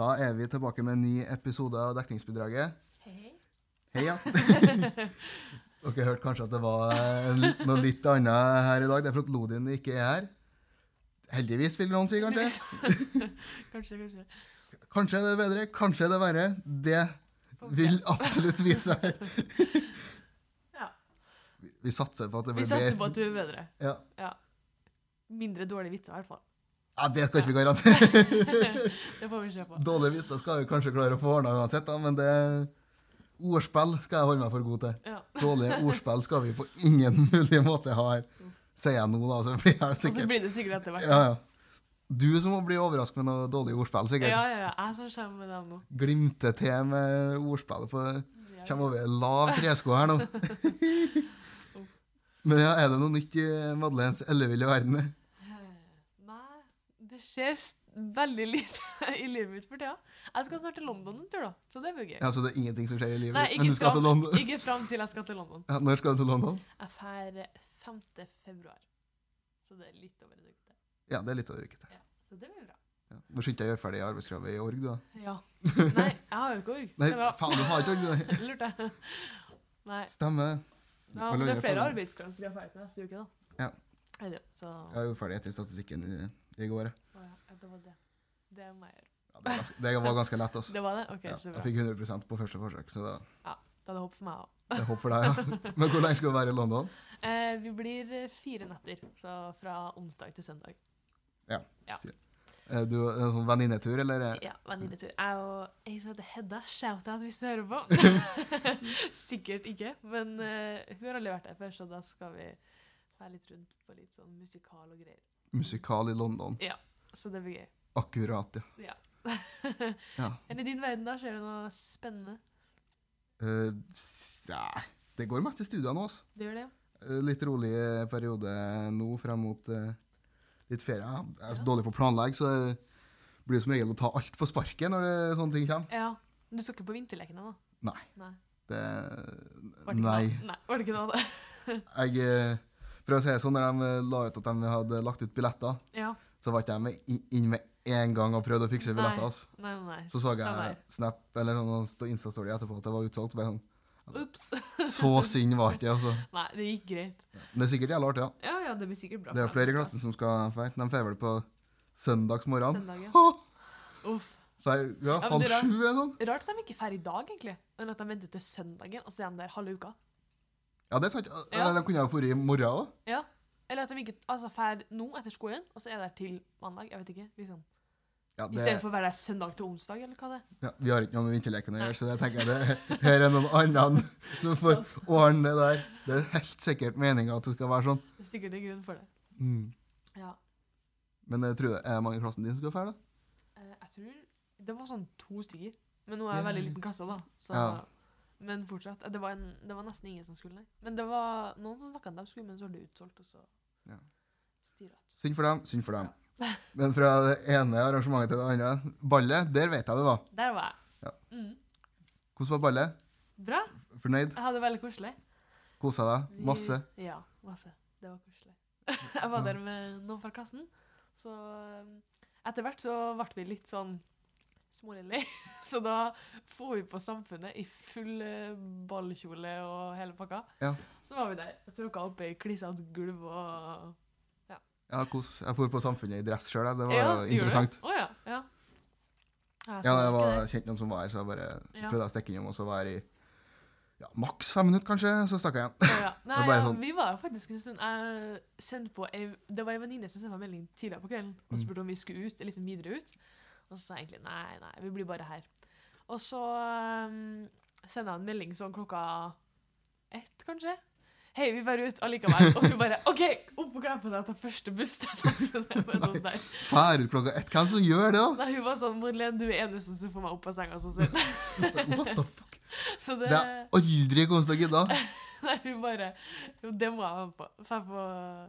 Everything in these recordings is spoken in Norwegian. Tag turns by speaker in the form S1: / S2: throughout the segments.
S1: Da er vi tilbake med en ny episode av Dekningsbidraget.
S2: Hei.
S1: Hei, ja. Dere hørte kanskje at det var en litt- noe litt annet her i dag. Det er for at Lodin ikke er her. Heldigvis, vil noen si, kanskje.
S2: Kanskje, kanskje.
S1: Kanskje er det bedre, kanskje er det verre. Det vil absolutt vise seg.
S2: Ja.
S1: Vi- Vi satser på at det
S2: Vi
S1: blir
S2: satser
S1: bedre.
S2: på at du er bedre.
S1: Ja.
S2: Mindre dårlige vitser, i hvert fall.
S1: ja, det skal ikke vi garantere.
S2: Det får vi se på.
S1: Dårlige vitser skal vi kanskje klare å få ordna uansett, da, men det ordspill skal jeg holde meg for god til.
S2: Ja.
S1: Dårlige ordspill skal vi på ingen mulig måte ha her. Sier jeg nå, da, så blir jeg
S2: Og så
S1: sikkert
S2: Altså, blir det sikkert etter hvert.
S1: ja, ja. Du som må bli overrasket med noe dårlig ordspill, sikkert.
S2: Ja, ja, ja. Jeg som kommer med dem nå.
S1: Glimter til med ordspillet på
S2: Ja.
S1: Kjem over en lav tresko her nå. Men ja, er det noe nytt i Madeleines elleville verden?
S2: Eh, Nei, det skjer s- veldig lite i livet mitt for tida. Jeg skal snart til London en tur, da. Så det blir gøy.
S1: Ja, så Altså, det er ingenting som skjer i livet?
S2: Nei,
S1: men
S2: ikke
S1: du skal til
S2: fram,
S1: London?
S2: ikke fram til jeg skal til London.
S1: Ja, når skal du til London?
S2: Jeg drar 5. februar. Så det er litt over en uke til.
S1: Ja, det er litt av det rykket.
S2: Så det blir bra.
S1: Ja. Må skynde deg å gjøre ferdig arbeidskravet i org, du da.
S2: Ja. Nei, jeg har jo ikke org.
S1: Nei,
S2: Det var-
S1: faen, du har ikke org, du.
S2: Lurte jeg. Nei.
S1: Stemmer.
S2: Ja, men det er flere arbeidsklasser jeg ferdig til neste uke, da.
S1: Ja.
S2: Er det, så
S1: Jeg er jo ferdig etter statistikken i, i går. jeg.
S2: Å ja, det var det. Det må jeg gjøre.
S1: Ja, det, er ganske, det var ganske lett, altså.
S2: Det var det? OK,
S1: Ja,
S2: så
S1: jeg
S2: bra.
S1: fikk 100 på første forsøk, så da,
S2: Da er det håp for meg òg.
S1: det er håp for deg, ja. Men hvor lenge skal du være i London?
S2: Eh, vi blir eh, fire netter, så fra onsdag til søndag.
S1: Er du en sånn venninnetur, eller? er-
S2: Ja, venninnetur. Jeg og ei som heter Hedda, shout-out hvis du hører på. Sikkert ikke, men eh, hun har aldri vært der før, så da skal vi fære litt rundt på litt sånn musikal og greier.
S1: Musikal i London.
S2: Så det blir gøy.
S1: Akkurat, ja. Ja.
S2: Men i din verden, da, skjer det noe spennende?
S1: Eh, s- nei, det går mest i studiene også.
S2: Det gjør det, ja.
S1: Eh, Litt rolig eh, periode nå frem mot eh, litt ferie. Jeg er så
S2: Ja.
S1: dårlig på å planlegge, så det blir som regel å ta alt på sparket når det, sånne ting kommer.
S2: Ja. Du skal ikke på vinterlekene, da?
S1: Nei.
S2: Nei.
S1: Det,
S2: Var det ikke
S1: nei.
S2: noe- Nei, var det ikke noe av det?
S1: Jeg, eh, for å si det sånn, når de eh, la ut at de hadde lagt ut billetter,
S2: Ja,
S1: så var ikke de med- i- inn med en gang og prøvde å fikse
S2: Nei.
S1: billetter. Altså.
S2: nei, nei, nei.
S1: Så så
S2: Samme
S1: jeg
S2: her.
S1: Snap eller noen stå- Insta-story etterpå at det var utsolgt. Bare sånn,
S2: Ups.
S1: så synd var ikke det, altså.
S2: Nei, det gikk greit.
S1: Men det er sikkert jævla artig, ja.
S2: Ja, ja, det blir sikkert bra.
S1: Det er jo
S2: for
S1: flere i
S2: dem
S1: klassen som skal feire. De feirer vel på søndagsmorgen.
S2: Søndag, ja.
S1: Åh,
S2: Uff.
S1: feir- Ja,
S2: men
S1: halv
S2: det er rart.
S1: sju eller noe.
S2: Rart at de ikke drar i dag, egentlig. Men at de venter til søndagen, og så er de der halve uka.
S1: Ja, det er sant.
S2: Ja.
S1: Eller de kunne ha vært i morgen òg.
S2: Ja. Eller at de ikke altså, drar nå etter skolen, og så er de der til mandag. Jeg vet ikke. liksom.
S1: Ja,
S2: I
S1: det-
S2: stedet for å være der søndag til onsdag, eller hva det er.
S1: ja, vi har ikke noe med vinterleken å gjøre, så jeg tenker det her er noen andre som får ordne det der. Det er helt sikkert meninga at det skal være sånn.
S2: Det er sikkert en grunn for det.
S1: Mm.
S2: Ja.
S1: Men jeg tror det er mange i klassen din som skal feire, da.
S2: Eh, jeg tror Det var sånn to stykker. Men nå er jeg
S1: Ja.
S2: veldig liten klasse, da. Så,
S1: Ja.
S2: Men fortsatt. eh, Det var, en, det var nesten ingen som skulle, nei. Men det var noen som snakka om de skulle, men så ble det utsolgt, og så
S1: Ja.
S2: styret.
S1: Synd for dem, synd for dem. Men fra det ene arrangementet til det andre. Ballet, der vet jeg det var.
S2: Der var jeg.
S1: Ja.
S2: Mm.
S1: Hvordan var ballet?
S2: Bra.
S1: Fornøyd?
S2: Jeg hadde det veldig koselig.
S1: Kosa deg?
S2: Vi-
S1: Masse?
S2: Ja, masse. Det var koselig. Jeg var der med noen fra klassen, så um, etter hvert så ble vi litt sånn smårellig. Så da får vi på Samfunnet i full eh, ballkjole og hele pakka.
S1: Ja.
S2: Så var vi der og tråkka opp i klissete gulv og
S1: Ja, kos. Jeg for på Samfunnet i dress sjøl, det var
S2: Ja,
S1: jo
S2: gjorde du?
S1: interessant.
S2: Å ja. ja. Jeg
S1: Ja,
S2: så
S1: jeg
S2: ikke
S1: var
S2: det.
S1: kjent noen som var her, så jeg bare
S2: Ja.
S1: prøvde å stikke innom og så være i ja, maks fem minutter, kanskje, så stakk jeg igjen.
S2: Å ja. Nei,
S1: bare
S2: ja,
S1: sånn-
S2: vi var jo faktisk en stund jeg sendte på ei, Det var ei venninne som sendte meg melding tidligere på kvelden
S1: Mm.
S2: og spurte om vi skulle ut, liksom videre ut. Og så sa jeg egentlig nei, nei, vi blir bare her. Og så um, sender jeg en melding sånn klokka ett, kanskje. Hei, vi drar ut allikevel. Og hun bare OK, opp og kle på deg, ta første buss. til Samfunnet», og sånn der.
S1: Fær ut klokka ett. Hvem som gjør det,
S2: Nei, hun var sånn Madeleine, du er eneste som får meg opp av senga så sent.
S1: da? What the fuck?
S2: Så det,
S1: Det er aldri kommet til å gidde.
S2: Nei, hun bare Jo, det må jeg være med på. Dra på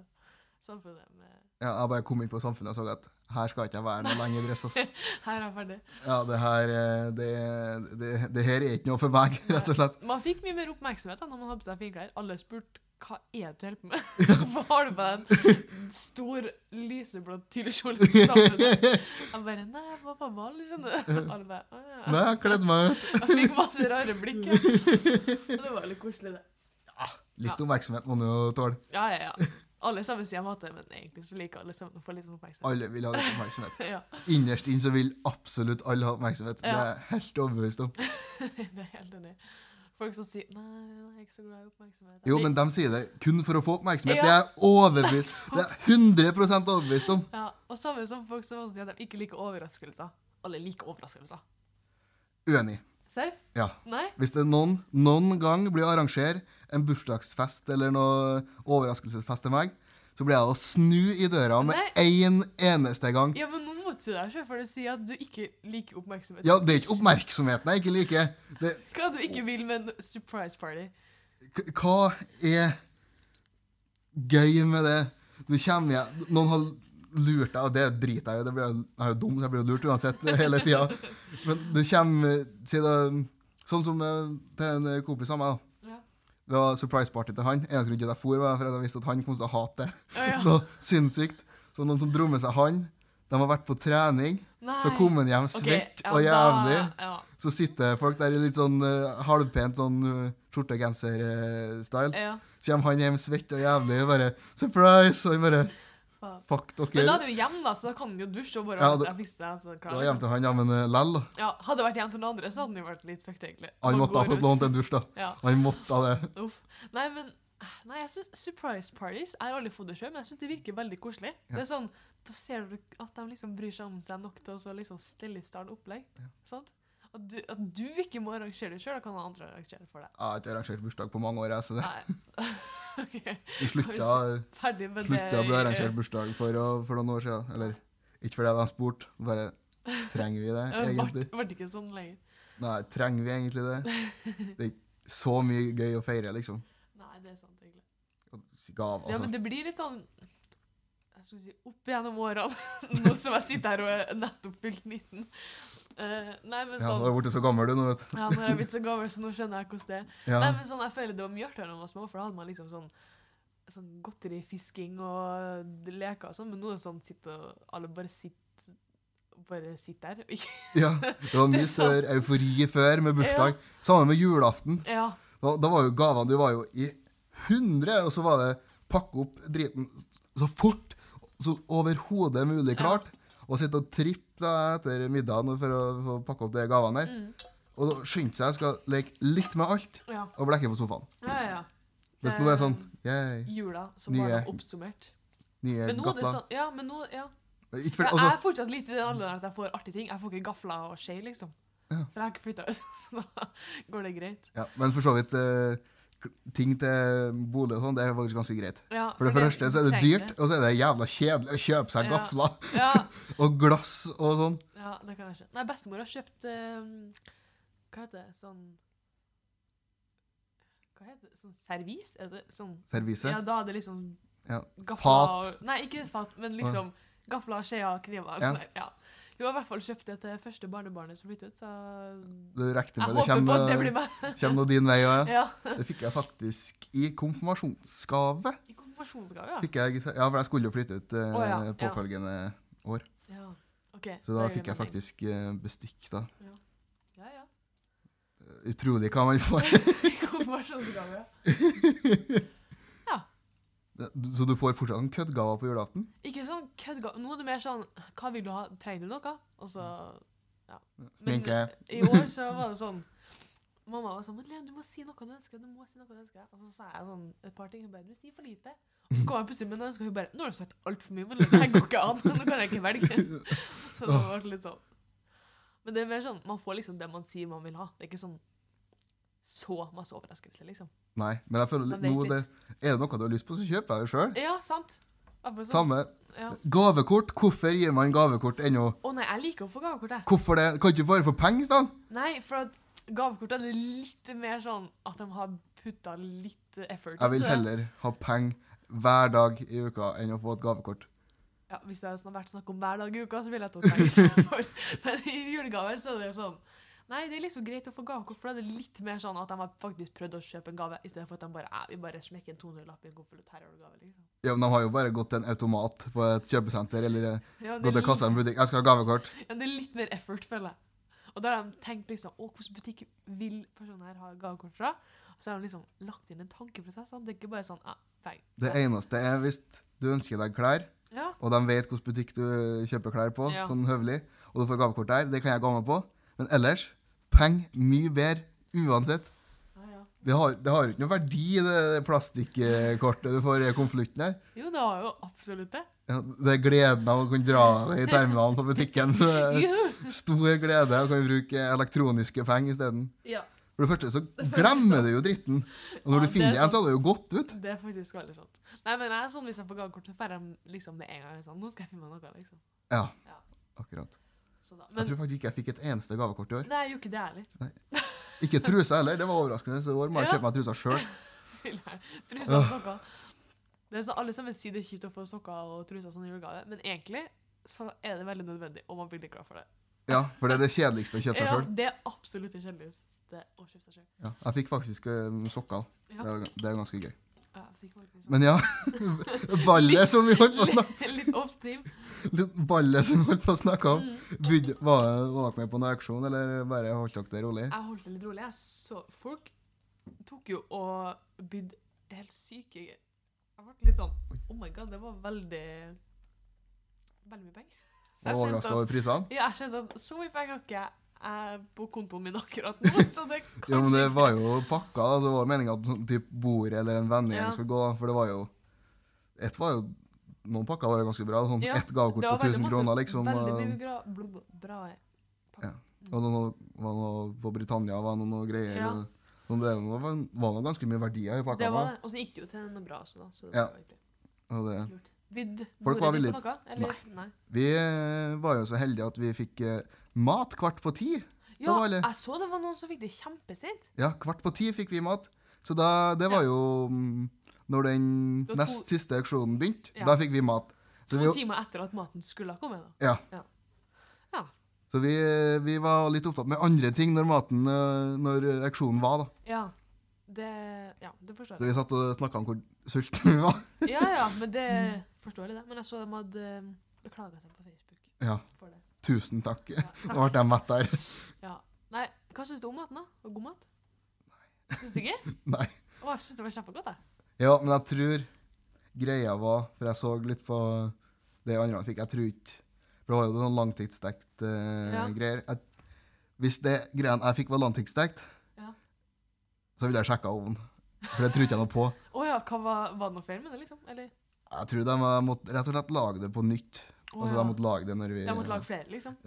S2: Samfunnet med
S1: Ja, jeg bare kom inn på Samfunnet og så at her skal ikke jeg være noe lenge i dress. ass.
S2: Her er jeg ferdig.
S1: Ja, det her, eh, det, det, det her er ikke noe for meg, rett og slett.
S2: Man fikk mye mer oppmerksomhet da når man hadde på seg finklær. Alle spurte Hva er det du holder på med? Hvorfor har du på deg en stor lyseblå tyllekjole sammen? Jeg bare Nei, jeg var på ball, skjønner du. Alle bare Å ja.
S1: Nei, jeg kledde meg ut.
S2: Jeg fikk masse rare blikk. ja. Men det var litt koselig, det. Ja.
S1: Litt oppmerksomhet må du jo tåle.
S2: Ja, ja, ja. Alle sammen sier jeg hater det, men egentlig så liker alle sammen å få litt oppmerksomhet.
S1: Alle vil ha litt oppmerksomhet.
S2: Ja,
S1: Innerst inn så vil absolutt alle ha oppmerksomhet. Det
S2: Ja.
S1: er jeg helt overbevist om.
S2: det er jeg helt enig. i. Folk som sier nei, jeg er ikke så glad i oppmerksomhet.
S1: Jo, men de sier det kun for å få oppmerksomhet.
S2: Ja.
S1: Det er jeg overbevist Det er jeg 100 overbevist om.
S2: Ja, og samme som folk som også sier at de ikke liker overraskelser. Alle liker overraskelser.
S1: Uenig.
S2: Serr?
S1: Ja.
S2: Nei?
S1: Hvis det noen, noen gang blir å arrangere en bursdagsfest eller noe overraskelsesfest til meg, så blir jeg å snu i døra med
S2: Nei.
S1: én eneste gang.
S2: Ja, men nå motsier du deg selv for du sier at du ikke liker oppmerksomhet.
S1: Ja, det er ikke oppmerksomheten jeg ikke liker. Det,
S2: Hva du ikke vil med en surprise party.
S1: K- Hva er gøy med det? Du kommer hjem Noen har lurt deg, og det driter jeg i. det blir jo- Jeg er jo dum, så jeg blir jo lurt uansett hele tida. Men du kommer si det, Sånn som eh, til en kompis av meg. da.
S2: Ja.
S1: Det var surprise-party til han. Eneste grunn til at jeg for, var fordi jeg visste at han kom til å hate det.
S2: Å, ja.
S1: Noe sinnssykt. Så noen som dro med seg han. De har vært på trening.
S2: Nei.
S1: Så kom han hjem
S2: Ok,
S1: svett
S2: ja,
S1: og
S2: da-
S1: jævlig.
S2: Ja.
S1: Så sitter folk der i litt sånn eh, halvpent sånn eh, skjorte-genser-style.
S2: ja.
S1: Kjem han hjem svett og jævlig og bare 'surprise', og han bare
S2: faen.
S1: 'fuck dere'.
S2: Men da er du hjemme, da, så da kan du jo dusje og bare
S1: Ja, da-
S2: jeg fikser det, så
S1: Da
S2: klarer
S1: var
S2: jeg
S1: hjem til han, ja, men eh, lell. da.
S2: det. ja, Hadde det vært hjem til noen andre, så hadde den jo vært litt fucked, egentlig.
S1: Han
S2: Man
S1: måtte ha
S2: går
S1: fått
S2: ut.
S1: lånt en dusj, da.
S2: Ja.
S1: Han måtte ha det.
S2: Uff. Nei, men Nei, jeg synes surprise parties Jeg har aldri fått det sjøl, men jeg syns det virker veldig koselig.
S1: Ja.
S2: Det er sånn, Da ser du at de liksom bryr seg om seg nok til å så liksom stelle i stand opplegg. Sant? At du, at du ikke må arrangere det sjøl, da kan noen andre arrangere det for deg.
S1: Jeg har ikke arrangert bursdag på mange år, jeg, så det
S2: Nei. ok,
S1: vi eh, slutta,
S2: Ferdig med det.
S1: slutta å bli arrangert bursdag for, å- for noen år siden. Eller ikke fordi de spurte, bare trenger vi det
S2: Ja, det
S1: egentlig?
S2: ble- ble ikke sånn lenger.
S1: Nei, trenger vi egentlig det? Det er ikke så mye gøy å feire, liksom.
S2: Nei, det er sant, egentlig.
S1: Gav,
S2: Ja,
S1: altså.
S2: men det blir litt sånn jeg skulle si opp gjennom årene, nå som jeg sitter her og er nettopp fylt 19. Eh, nei, men
S1: Ja,
S2: sånn
S1: du har blitt så gammel, du nå, vet du.
S2: Ja, når jeg er blitt så gammel, så nå skjønner jeg hvordan det er.
S1: Ja.
S2: Nei, men sånn, Jeg føler det var mjørtere når man var små, for da hadde man liksom sånn, sånn godterifisking og leker og sånn, men nå er det sånn sitte og alle bare sitter bare sitter der. Ikke-
S1: Ja, det var mye
S2: Det er sånn sant.
S1: større eufori før med bursdag. Sammen med julaften.
S2: Ja,
S1: Da, da var jo gavene Du var jo i hundre, og så var det pakke opp driten så fort så overhodet mulig
S2: Ja.
S1: klart. Og sitte og trippe da etter middagen for å, for å pakke opp de gavene der.
S2: mm,
S1: Og da skyndte seg jeg skal leke litt med alt
S2: ja,
S1: og blekke på sofaen.
S2: ja, ja, ja.
S1: Mens nå er det sånn
S2: Eh,
S1: yeah,
S2: Jula som
S1: Nye-
S2: bare oppsummert.
S1: nye
S2: Men nå er det
S1: gafler.
S2: sånn, ja, men nå, ja.
S1: Ikke
S2: For
S1: for,
S2: jeg
S1: altså,
S2: er fortsatt litt i den alderen at jeg får artige ting. Jeg får ikke gafler og skje, liksom.
S1: Ja.
S2: For jeg har ikke flyttet ut, så da går det greit.
S1: ja, men for så vidt eh, k- Ting til bolig og sånn, det er faktisk ganske greit.
S2: Ja,
S1: For det første så er det
S2: trenger
S1: dyrt, og så er det jævla kjedelig å kjøpe seg
S2: Ja.
S1: gafler
S2: Ja,
S1: og glass og sånn.
S2: Ja, det kan jeg skjønne. Nei, bestemor har kjøpt ehm, Hva heter det? Sånn Hva heter det? Sånn servis? Er det sånn
S1: Servise.
S2: Ja, da er det liksom
S1: Ja,
S2: gafler og Nei, ikke fat, men liksom gafler, skjeer,
S1: Ja.
S2: kniver. Ja. Sånn, der, ja. Hun har i hvert fall kjøpt det til første barnebarnet som flyttet ut, så
S1: Du rekte
S2: jeg
S1: med det.
S2: håper på at det blir
S1: Kommer
S2: meg.
S1: kommer nå din vei òg, ja.
S2: Ja.
S1: Det fikk jeg faktisk i konfirmasjonsgave.
S2: I konfirmasjonsgave, ja.
S1: Fikk jeg, ja, for jeg skulle jo flytte ut eh,
S2: Å, ja, ja.
S1: påfølgende år.
S2: ja. Ok,
S1: Så da
S2: det er
S1: fikk jeg
S2: mening.
S1: faktisk eh, bestikk, da.
S2: Ja, ja.
S1: Utrolig hva man får.
S2: I konfirmasjonsgave.
S1: Så du får fortsatt en køddgave på julaften?
S2: Ikke sånn køddgave. Nå er det mer sånn Hva vil du ha? Trenger du noe? Og så Men
S1: Sminke.
S2: I år så var det sånn Mamma var sånn Madeleine, du må si noe du ønsker. Du må si noe du ønsker. Og så sa jeg sånn et par ting. Hun bare Du sier for lite. Og så kom jeg plutselig med noe ønske, og hun bare Nå har du sagt altfor mye. Madeleine. Det her går ikke an. Nå kan jeg ikke velge. Så det var litt sånn. Men det er mer sånn Man får liksom det man sier man vil ha. Det er ikke sånn så masse overraskelse, liksom.
S1: Nei, men jeg føler
S2: Man
S1: litt,
S2: vet
S1: nå det,
S2: litt.
S1: er det noe du har lyst på, så kjøper jeg det sjøl.
S2: Ja, sant? Akkurat sånn.
S1: Samme.
S2: Ja.
S1: Gavekort. Hvorfor gir man gavekort ennå?
S2: Å nei, jeg liker å få gavekort, jeg.
S1: Hvorfor det? Kan ikke du bare få penger i stedet?
S2: Nei, for at gavekort er litt mer sånn at de har putta litt effort.
S1: Jeg vil
S2: tror
S1: heller ha penger hver dag i uka enn å få et gavekort.
S2: Ja, hvis det hadde vært snakk om hver dag i uka, så ville jeg tatt penger. for. Men i julegave så er det sånn Nei, det er liksom greit å få gavekort, for da er det litt mer sånn at de har faktisk prøvd å kjøpe en gave, i stedet for at de bare eh, vi bare smekker en 200-lapp i en konvolutt, her har du gave, liksom.
S1: Ja, men de har jo bare gått til en automat på et kjøpesenter eller eh,
S2: Ja, det,
S1: gått
S2: er
S1: til kassa i
S2: litt,
S1: en butikk. Jeg skal ha gavekort.
S2: ja, det er litt mer effort, føler jeg. Og da har de tenkt liksom Å, hvilken butikk vil personen her ha gavekort fra? Og så har de liksom lagt inn en tankeprosess. sånn. Det er ikke bare sånn ah, bang.
S1: Det eneste er hvis du ønsker deg klær,
S2: Ja.
S1: og de vet hvilken butikk du kjøper klær på,
S2: Ja.
S1: sånn høvelig, og du får gavekort der, det kan jeg gå med på. Men ellers, penger mye bedre uansett.
S2: Ja, ja.
S1: Det har, det har ikke noe verdi, det plastikkortet du får i konvolutten der.
S2: Jo, det har jo absolutt det.
S1: Ja, Det er gleden av å kunne dra det i terminalen på butikken. Så det
S2: Juhu!
S1: er stor glede av å kunne bruke elektroniske penger isteden.
S2: Ja,
S1: For det første så glemmer du jo dritten. Og
S2: Ja,
S1: når
S2: det
S1: du
S2: er
S1: finner en,
S2: sant.
S1: så hadde det jo gått ut.
S2: det er faktisk veldig sant. Nei, men jeg er sånn hvis jeg får gavekort, så får jeg liksom med en gang sånn Nå skal jeg finne meg noe, liksom.
S1: Ja,
S2: Ja.
S1: akkurat.
S2: Så da.
S1: Jeg
S2: Men
S1: tror faktisk ikke jeg fikk et eneste gavekort i år.
S2: nei, jeg gjorde ikke det heller.
S1: Ikke trusa heller, det var overraskende. Så i år må jeg
S2: Ja.
S1: kjøpe meg trusa sjøl.
S2: Silje, Trusa og sokker. Det er så alle sammen sier det er kjipt å få sokker og truser som julegave, men egentlig så er det veldig nødvendig, og man blir litt glad for det.
S1: Ja, for det er det kjedeligste å kjøpe seg
S2: Ja,
S1: sjøl.
S2: det er absolutt det kjedeligste å kjøpe seg sjøl.
S1: Ja, jeg fikk faktisk eh, sokker. Det
S2: Ja.
S1: er, det er ganske gøy.
S2: Ja, jeg fikk faktisk sånn.
S1: Men ja, ballet som vi holdt på å snakke
S2: Litt- Litt off team.
S1: Ballet som vi holdt på å snakke om,
S2: Mm.
S1: begynte- var, var dere med på noen auksjon, eller bare holdt dere det rolig?
S2: Jeg holdt det litt rolig. Jeg så folk tok jo og bydde helt syke Jeg ble litt sånn Oh my god, det var veldig Veldig mye penger. Så jeg
S1: Og
S2: skjønte
S1: overraska
S2: at-
S1: over prisene?
S2: Ja, jeg skjønte at så mye penger har ikke jeg på kontoen min akkurat nå, så det kan
S1: Ja, men det var jo pakka. da, så det var meninga at sånn typ bordet eller en vennegjeng
S2: Ja.
S1: skulle gå. For det var jo Ett var jo Noen pakker var jo ganske bra. Sånn
S2: Ja,
S1: ett gavekort på 1000 kroner, liksom.
S2: Veldig
S1: og-
S2: mye bra, bl- bl- bra
S1: Og det var var noe på Britannia var det noe greier.
S2: Ja.
S1: og- og Det var, var noe ganske mye verdier i
S2: det
S1: pakka.
S2: var,
S1: da,
S2: Og så gikk det jo til noe bra også, da. Så det
S1: Ja.
S2: var egentlig
S1: Og det.
S2: lurt. Vidd
S1: Folk var
S2: bordet ditt
S1: villige.
S2: på noe, eller? Nei.
S1: Vi eh, var jo så heldige at vi fikk eh, mat kvart på ti.
S2: Ja,
S1: var litt-
S2: jeg så det var noen som fikk det kjempesent.
S1: Ja, kvart på ti fikk vi mat. Så da, det var jo mm, når den
S2: Det var to-
S1: nest siste auksjonen begynte.
S2: Ja.
S1: Da fikk vi mat. Så
S2: To
S1: vi,
S2: timer etter at maten skulle ha kommet. da.
S1: ja,
S2: Ja.
S1: så vi, vi var litt opptatt med andre ting når maten, eh, når auksjonen var. da.
S2: Ja, det, ja, det
S1: Så
S2: forstår
S1: vi
S2: jeg.
S1: satt og snakka om hvor sultne vi var.
S2: Ja, ja, men det forstår jeg det. Men jeg så de hadde eh, beklaga seg på Facebook
S1: Ja,
S2: for det.
S1: tusen takk.
S2: Ja,
S1: Da ble jeg mett der.
S2: ja. Nei, hva syns du om maten, da? Var det god mat? Syns du ikke?
S1: Nei.
S2: Å, jeg syns det var kjempegodt, jeg.
S1: Ja, men jeg tror greia var For jeg så litt på det andre han fikk. Jeg tror ikke For det var jo noen langtidsstekt eh,
S2: Ja.
S1: greier. Jeg, hvis det greien jeg fikk var langtidsstekt,
S2: Ja.
S1: så ville jeg sjekka ovnen. For det tror ikke jeg noe på.
S2: Å ja, hva var, var det noe feil med det, liksom? Eller?
S1: Jeg tror de har måttet rett og slett lage det på nytt.
S2: Å,
S1: altså
S2: ja.
S1: de måtte lage det når vi
S2: De måtte lage flere, liksom?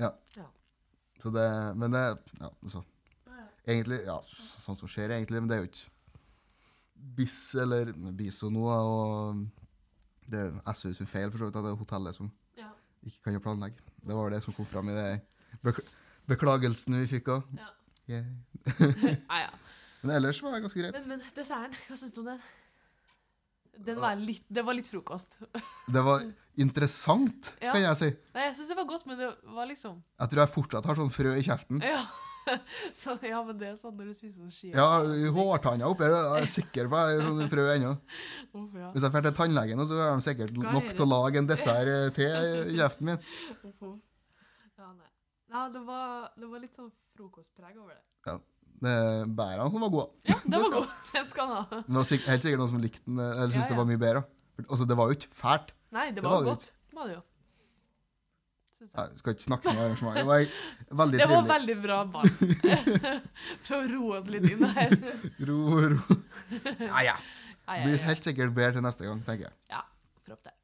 S1: Så det Men det Ja, så
S2: Å, ja.
S1: Egentlig Ja, så- sånt som skjer, egentlig, men det er jo ikke Bis eller Biso nå, da, og det Jeg synes jo feil, for så vidt, at det er hotellet som
S2: Ja.
S1: ikke kan jo planlegge. Det var det som kom fram i det bekl beklagelsen vi fikk òg.
S2: Ja.
S1: Yeah.
S2: Ja, ja.
S1: Men ellers var det ganske greit.
S2: Men, men desserten, hva syns du om den? Den var litt, det var litt frokost.
S1: Det var interessant,
S2: Ja.
S1: kan jeg si.
S2: Nei, jeg syns det var godt, men det var liksom
S1: Jeg tror jeg fortsatt har sånn frø i kjeften.
S2: Ja. Så, ja, men det er sånn når du spiser sånn skier.
S1: Ja, i hårtanna oppi her, jeg er sikker på jeg har sånn frø ennå.
S2: Uff, ja.
S1: Hvis jeg drar til tannlegen, nå, så har de sikkert
S2: Hva er
S1: nok
S2: det?
S1: til å lage en dessert eh, til i kjeften min.
S2: Uff, uff. Ja, nei. Ja, det var, det var litt sånn frokostpreg over det.
S1: Det er bærene som var gode.
S2: Ja, det
S1: Det skal-
S2: var god. Det skal han ha.
S1: Det var sikk- helt sikkert noen som likte den, eh, eller syntes
S2: Ja,
S1: det var mye bedre. Altså, det var jo ikke fælt.
S2: Nei, det
S1: Det
S2: var,
S1: var det
S2: godt. Det var det jo. Synes jeg.
S1: Jeg skal ikke snakke ned arrangementet. Det var veldig
S2: Det var
S1: trivelig.
S2: veldig bra barn. For å roe oss litt inn her.
S1: Ro, ro. Ja, ja.
S2: Nei,
S1: Blir helt sikkert bedre til neste gang, tenker jeg.
S2: Får opp det.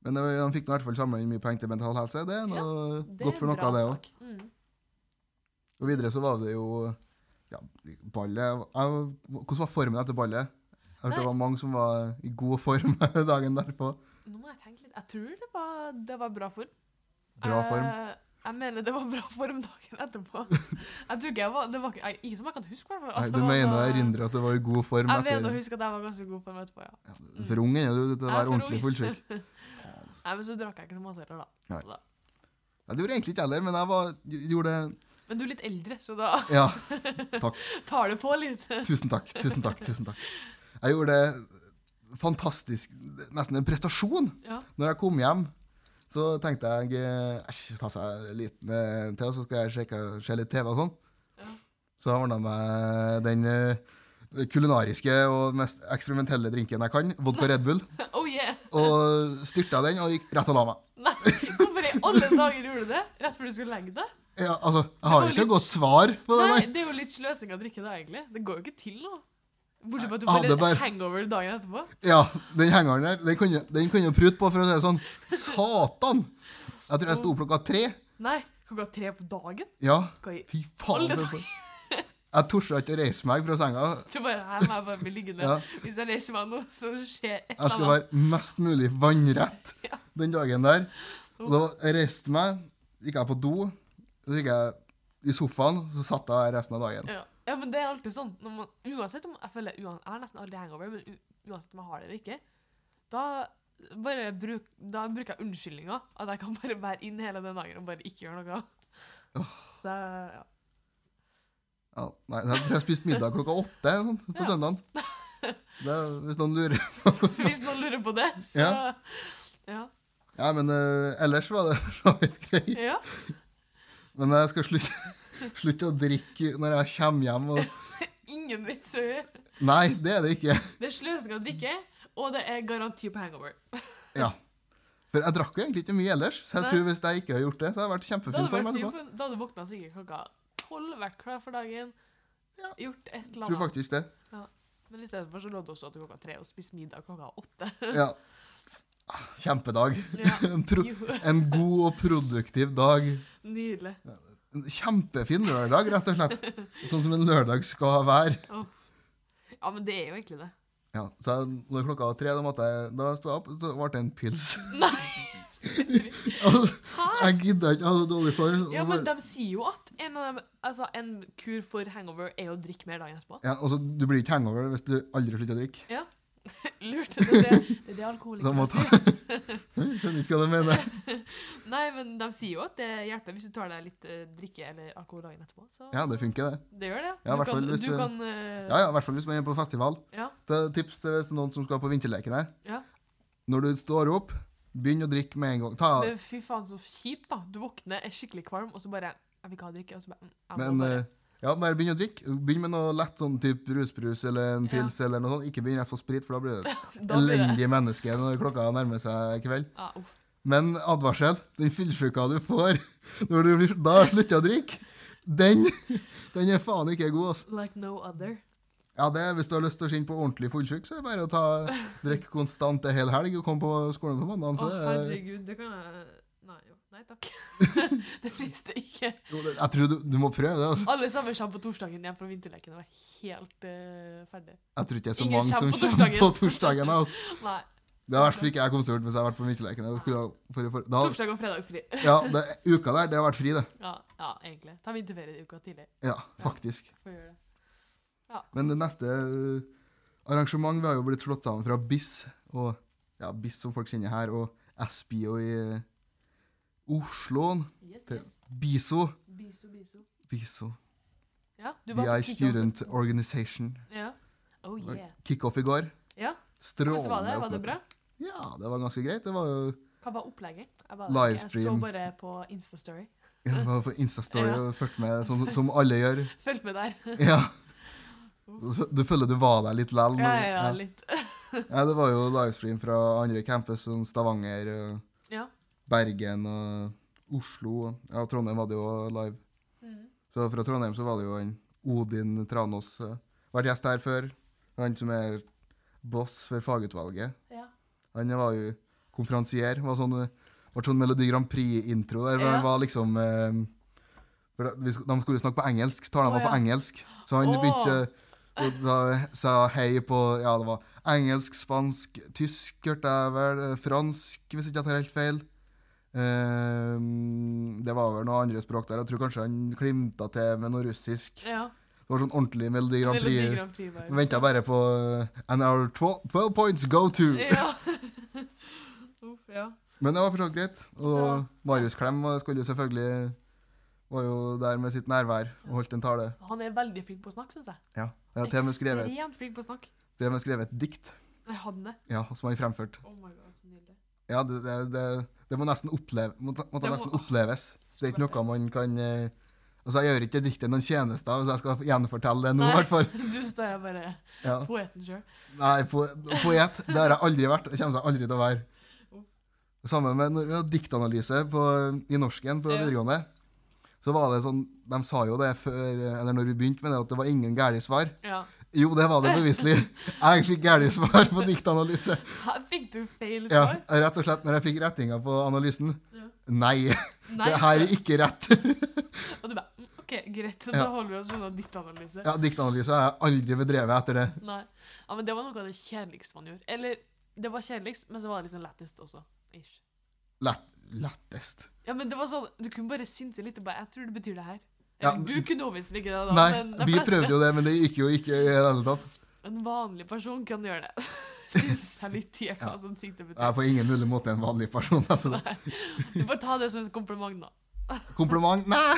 S1: Men det, han fikk nå i hvert fall samla inn mye penger til mental helse. Det er noe
S2: Det
S1: godt
S2: er
S1: for
S2: en
S1: noe av
S2: bra
S1: det òg.
S2: sak. Mm.
S1: Og videre så var det jo ja, ballet jeg, Hvordan var formen etter ballet? Jeg hørte
S2: Nei.
S1: det var mange som var i god form dagen derpå.
S2: Nå må jeg tenke litt. Jeg tror det var, det var bra form.
S1: Bra form.
S2: Eh, jeg mener det var bra form dagen etterpå. Jeg tror ikke jeg var, det var ikke- nei, Ikke som jeg kan huske, i hvert fall.
S1: Nei,
S2: Altså,
S1: du
S2: det var
S1: mener
S2: da-
S1: jeg erindrer at du var i god form
S2: Jeg mener å
S1: etter
S2: huske at jeg var ganske god form etterpå, ja.
S1: ja, For ung er du til å
S2: Jeg er
S1: være
S2: for
S1: ordentlig
S2: ung.
S1: fullsjuk.
S2: Nei, men så drakk jeg ikke så masse heller, da.
S1: Nei. Ja, det gjorde jeg egentlig ikke heller, men jeg var, gjorde det
S2: Men du er litt eldre, så da
S1: Ja, takk.
S2: tar det på litt.
S1: Tusen takk. Tusen takk. tusen takk. Jeg gjorde det fantastisk, nesten en prestasjon.
S2: Ja.
S1: Når jeg kom hjem, så tenkte jeg eh, æsj, ta seg en liten eh, til, så skal jeg sjekke, se litt TV og sånn.
S2: Ja.
S1: Så jeg ordna meg den eh, kulinariske og mest eksperimentelle drinken jeg kan, vodka Red Bull,
S2: Oh yeah!
S1: og styrta den og gikk rett og la meg.
S2: Nei, hvorfor i alle dager gjorde du det? Rett før du skulle legge deg?
S1: Ja, altså, jeg har
S2: Det var
S1: ikke
S2: litt-
S1: et godt svar på det.
S2: Nei,
S1: Nei.
S2: det er jo litt sløsing å drikke da, egentlig. Det går jo ikke til noe. Bortsett fra at du
S1: Nei,
S2: får
S1: jeg hadde
S2: litt
S1: bare-
S2: hangover dagen etterpå.
S1: Ja, den hengeren der, den kunne, den kunne jeg prute på, for å si det sånn. Satan! Jeg tror jeg sto opp klokka tre.
S2: Nei, klokka tre på dagen.
S1: Ja,
S2: Hva i-
S1: fy faen.
S2: Alle
S1: det var- Jeg torde ikke å reise meg fra senga.
S2: Så bare her må jeg bare bli liggende.
S1: Ja.
S2: Hvis jeg reiser meg nå, så skjer et
S1: Jeg
S2: eller
S1: skulle være
S2: annet.
S1: mest mulig vannrett
S2: Ja.
S1: den dagen der. Og da jeg reiste meg, gikk jeg på do, så gikk jeg i sofaen, så satt jeg der resten av dagen.
S2: Ja. ja, men det er alltid sånn. Når man, uansett om jeg føler uan, Jeg har nesten aldri hangover, men u, uansett om jeg har det eller ikke, da bare bruk, da bruker jeg unnskyldninga. At jeg kan bare være inn hele den dagen og bare ikke gjøre noe. Så jeg- ja.
S1: Ja, nei, jeg tror jeg spiste middag klokka åtte sånn, på
S2: Ja.
S1: søndagen. Det, er- hvis noen lurer på
S2: Så
S1: hvordan
S2: hvis noen lurer på det, så ja.
S1: Ja. Ja, men eh, ellers var det for så vidt greit.
S2: ja.
S1: Men jeg skal slutte, slutte å drikke når jeg kommer hjem og
S2: Ingen vits å gjøre.
S1: Nei, det er det ikke.
S2: Det er sløsing å drikke, og det er garanti på hangover.
S1: Ja. For jeg drakk jo egentlig ikke mye ellers, så jeg
S2: Nei.
S1: tror hvis jeg ikke hadde gjort det, så hadde jeg vært i
S2: Da
S1: kjempefin
S2: hadde,
S1: form
S2: vært
S1: etterpå.
S2: fin, da hadde våkna sikkert klokka tolv, vært klar for dagen,
S1: Ja.
S2: gjort et eller
S1: Tror
S2: annet.
S1: faktisk det.
S2: Men i stedet for så lå det også til klokka tre og spiste middag klokka åtte.
S1: Ja. Ah, Kjempedag.
S2: Ja.
S1: En, pro
S2: Jo,
S1: en god og produktiv dag.
S2: nydelig.
S1: En kjempefin lørdag, rett og slett. Sånn som en lørdag skal være.
S2: Uff. Ja, men det er jo egentlig det.
S1: Ja, så jeg- når klokka var tre, da, måtte jeg, da sto jeg opp, så ble det en pils.
S2: Nei!
S1: Altså,
S2: Hæ?
S1: jeg gidda ikke, jeg hadde dårlig form. og
S2: Ja,
S1: bare-
S2: men de sier jo at en, av dem, altså, en kur for hangover er å drikke mer dagen etterpå.
S1: Ja, altså, du blir ikke hangover hvis du aldri slutter å drikke.
S2: Lurt. Det er det, det, er det
S1: Da må
S2: alkoholikere
S1: ta...
S2: sier.
S1: Jeg Skjønner ikke hva du mener.
S2: Nei, men de sier jo at det hjelper hvis du tar deg litt eh, drikke eller alkohol dagen etterpå. Så
S1: Ja, det funker, det.
S2: det gjør det.
S1: Ja, i
S2: du
S1: hvert fall
S2: kan,
S1: hvis
S2: du
S1: du-
S2: kan eh,
S1: Ja, ja, I hvert fall hvis man er på festival.
S2: Ja.
S1: Det er tips til hvis det er noen som skal på vinterlekene.
S2: Ja.
S1: Når du står opp, begynn å drikke med en gang. Ta,
S2: Det, fy faen, så kjipt, da. Du våkner, er skikkelig kvalm, og så bare Jeg vil ikke ha drikke. Og så bare, mm, jeg må
S1: men
S2: bare.
S1: eh, ja, bare begynn å drikke. Begynn med noe lett sånn type rusbrus eller en
S2: Ja.
S1: pils eller noe sånt. Ikke begynn rett på sprit, for da blir du et
S2: Da blir det
S1: eh, elendig menneske når klokka nærmer seg kveld.
S2: ja, uff.
S1: Men advarsel, den fyllsjuka du får når du blir- da slutter å drikke, den, den er faen ikke god, altså.
S2: Like no other.
S1: Ja, det, er- hvis du har lyst til å skinne på ordentlig fullsjuk, så er det bare å ta, drikke konstant en hel helg og komme på skolen på mandag. Så
S2: Å,
S1: er det-
S2: herregud, det kan jeg Nei, jo. Nei takk. det frister ikke.
S1: jo, det- jeg tror du, du må prøve det. altså.
S2: Alle sammen kommer på torsdagen hjem fra vinterleken og er helt eh, ferdig.
S1: Jeg tror ikke det er så
S2: Ingen
S1: mange som
S2: kommer på
S1: kommer på
S2: torsdagen.
S1: torsdagen. Altså.
S2: Nei.
S1: Det er i hvert fall ikke jeg kom til å gjøre hvis jeg har vært på Midtjeleken. Jeg skulle ha- for- for- da-
S2: Torsdag og fredag fri.
S1: Ja, det, uka der, det har vært fri, det.
S2: Ja, ja egentlig. Ta vinterferie uka tidlig.
S1: Ja, faktisk.
S2: Får gjøre det.
S1: Men det neste eh, arrangement vi har jo blitt slått sammen fra BIS, og ja, BIS som folk kjenner her, og SBO i eh, Oslo,
S2: Yes,
S1: til
S2: yes.
S1: BISO.
S2: Biso, biso.
S1: BISO.
S2: Ja, du
S1: Vi
S2: var
S1: er student organization.
S2: Ja. Oh yeah.
S1: Kickoff i går.
S2: Ja,
S1: Strålende.
S2: Hvordan var det? Var det
S1: oppmøte.
S2: bra?
S1: Ja, det var ganske greit. Det var jo
S2: Hva var opplegget? Jeg, var der ikke. jeg så
S1: Livestream.
S2: bare på Instastory.
S1: ja, det var på Instastory
S2: Ja.
S1: og fulgte med, som, som alle gjør.
S2: Fulgte med der.
S1: Ja. Du føler du var der litt likevel?
S2: Ja, ja, ja, litt.
S1: Ja, det var jo livestream fra andre campus, som Stavanger, og
S2: Ja.
S1: Bergen og Oslo. og- Ja, Trondheim var det jo live.
S2: Mm.
S1: Så fra Trondheim så var det jo en Odin Tranås. eh, Vært gjest her før. Han som er boss for fagutvalget.
S2: ja.
S1: Han var jo konferansier. Var sånn, var sånn Melodi Grand Prix-intro der. hvor
S2: Ja.
S1: Han var liksom eh, for da- vi sk- De skulle snakke på engelsk, talene
S2: Å,
S1: var på
S2: ja.
S1: engelsk. Så han
S2: Å.
S1: begynte eh, og da sa hei på Ja, det var engelsk, spansk, tysk, hørte jeg vel. eh, Fransk, hvis ikke jeg tar helt feil. Eh, det var vel noe andre språk der. Jeg tror kanskje han klimta til med noe russisk.
S2: ja.
S1: Det var sånn ordentlig Melodi Grand
S2: Melodi
S1: Prix.
S2: Grand Prix var jo-
S1: Venta bare på eh, And our 12, 12 points go to.
S2: Ja. Uff, ja.
S1: Men det var fortsatt greit. Og
S2: Så-
S1: Marius Klem var- skulle jo selvfølgelig var jo der med sitt nærvær og holdt en tale.
S2: Han er veldig flink på å snakke, syns jeg.
S1: Ja. Jeg har til og med skrevet,
S2: Ekstremt flink på å snakke.
S1: til og med skrevet et dikt
S2: Nei, han er.
S1: ja, som jeg fremført.
S2: Oh my god, så nydelig.
S1: Ja, det, det, det, det må nesten, oppleve, må, ta- må
S2: Det
S1: ta
S2: må-
S1: nesten oppleves. Det er ikke noe man kan eh, Altså, Jeg gjør ikke diktet noen tjenester hvis jeg skal gjenfortelle det nå, i
S2: Nei.
S1: hvert fall.
S2: Du står her bare
S1: Ja.
S2: poeten sjøl.
S1: Nei, po poet. Det har jeg aldri vært, og kommer jeg aldri til å være.
S2: Uff.
S1: Samme med når vi hadde diktanalyse på, i norsken på
S2: Ja.
S1: videregående. Så var det sånn, De sa jo det før, eller når vi begynte med det, at det var ingen gærne svar.
S2: Ja.
S1: Jo, det var det beviselig. Jeg fikk gærne svar på diktanalyse.
S2: Her fikk du feil
S1: Ja,
S2: svar.
S1: Rett og slett når jeg fikk rettinga på analysen.
S2: Ja.
S1: Nei,
S2: Nei,
S1: det her er ikke rett.
S2: Og du bare mm, OK, greit, da
S1: Ja.
S2: holder vi oss unna diktanalyse.
S1: Ja, Diktanalyse har jeg aldri bedrevet etter det.
S2: Nei. Ja, men det var noe av det kjedeligste man gjorde. Eller det var kjedeligst, men så var det liksom lettest også. Ish.
S1: Lett, lettest.
S2: Ja, men det var sånn, Du kunne bare synse litt og bare 'Jeg tror det betyr det her'.
S1: Ja,
S2: Eller, du kunne overbevist ikke det, da,
S1: Nei,
S2: men de
S1: vi
S2: fleste-
S1: prøvde jo det, men det gikk jo ikke i det hele tatt.
S2: En vanlig person kan gjøre det. Synse seg litt i hva
S1: Ja.
S2: sånne ting det
S1: Jeg er
S2: betyr.
S1: på ingen mulig måte en vanlig person. Altså.
S2: Du får ta det som et kompliment, da.
S1: Kompliment? Nei!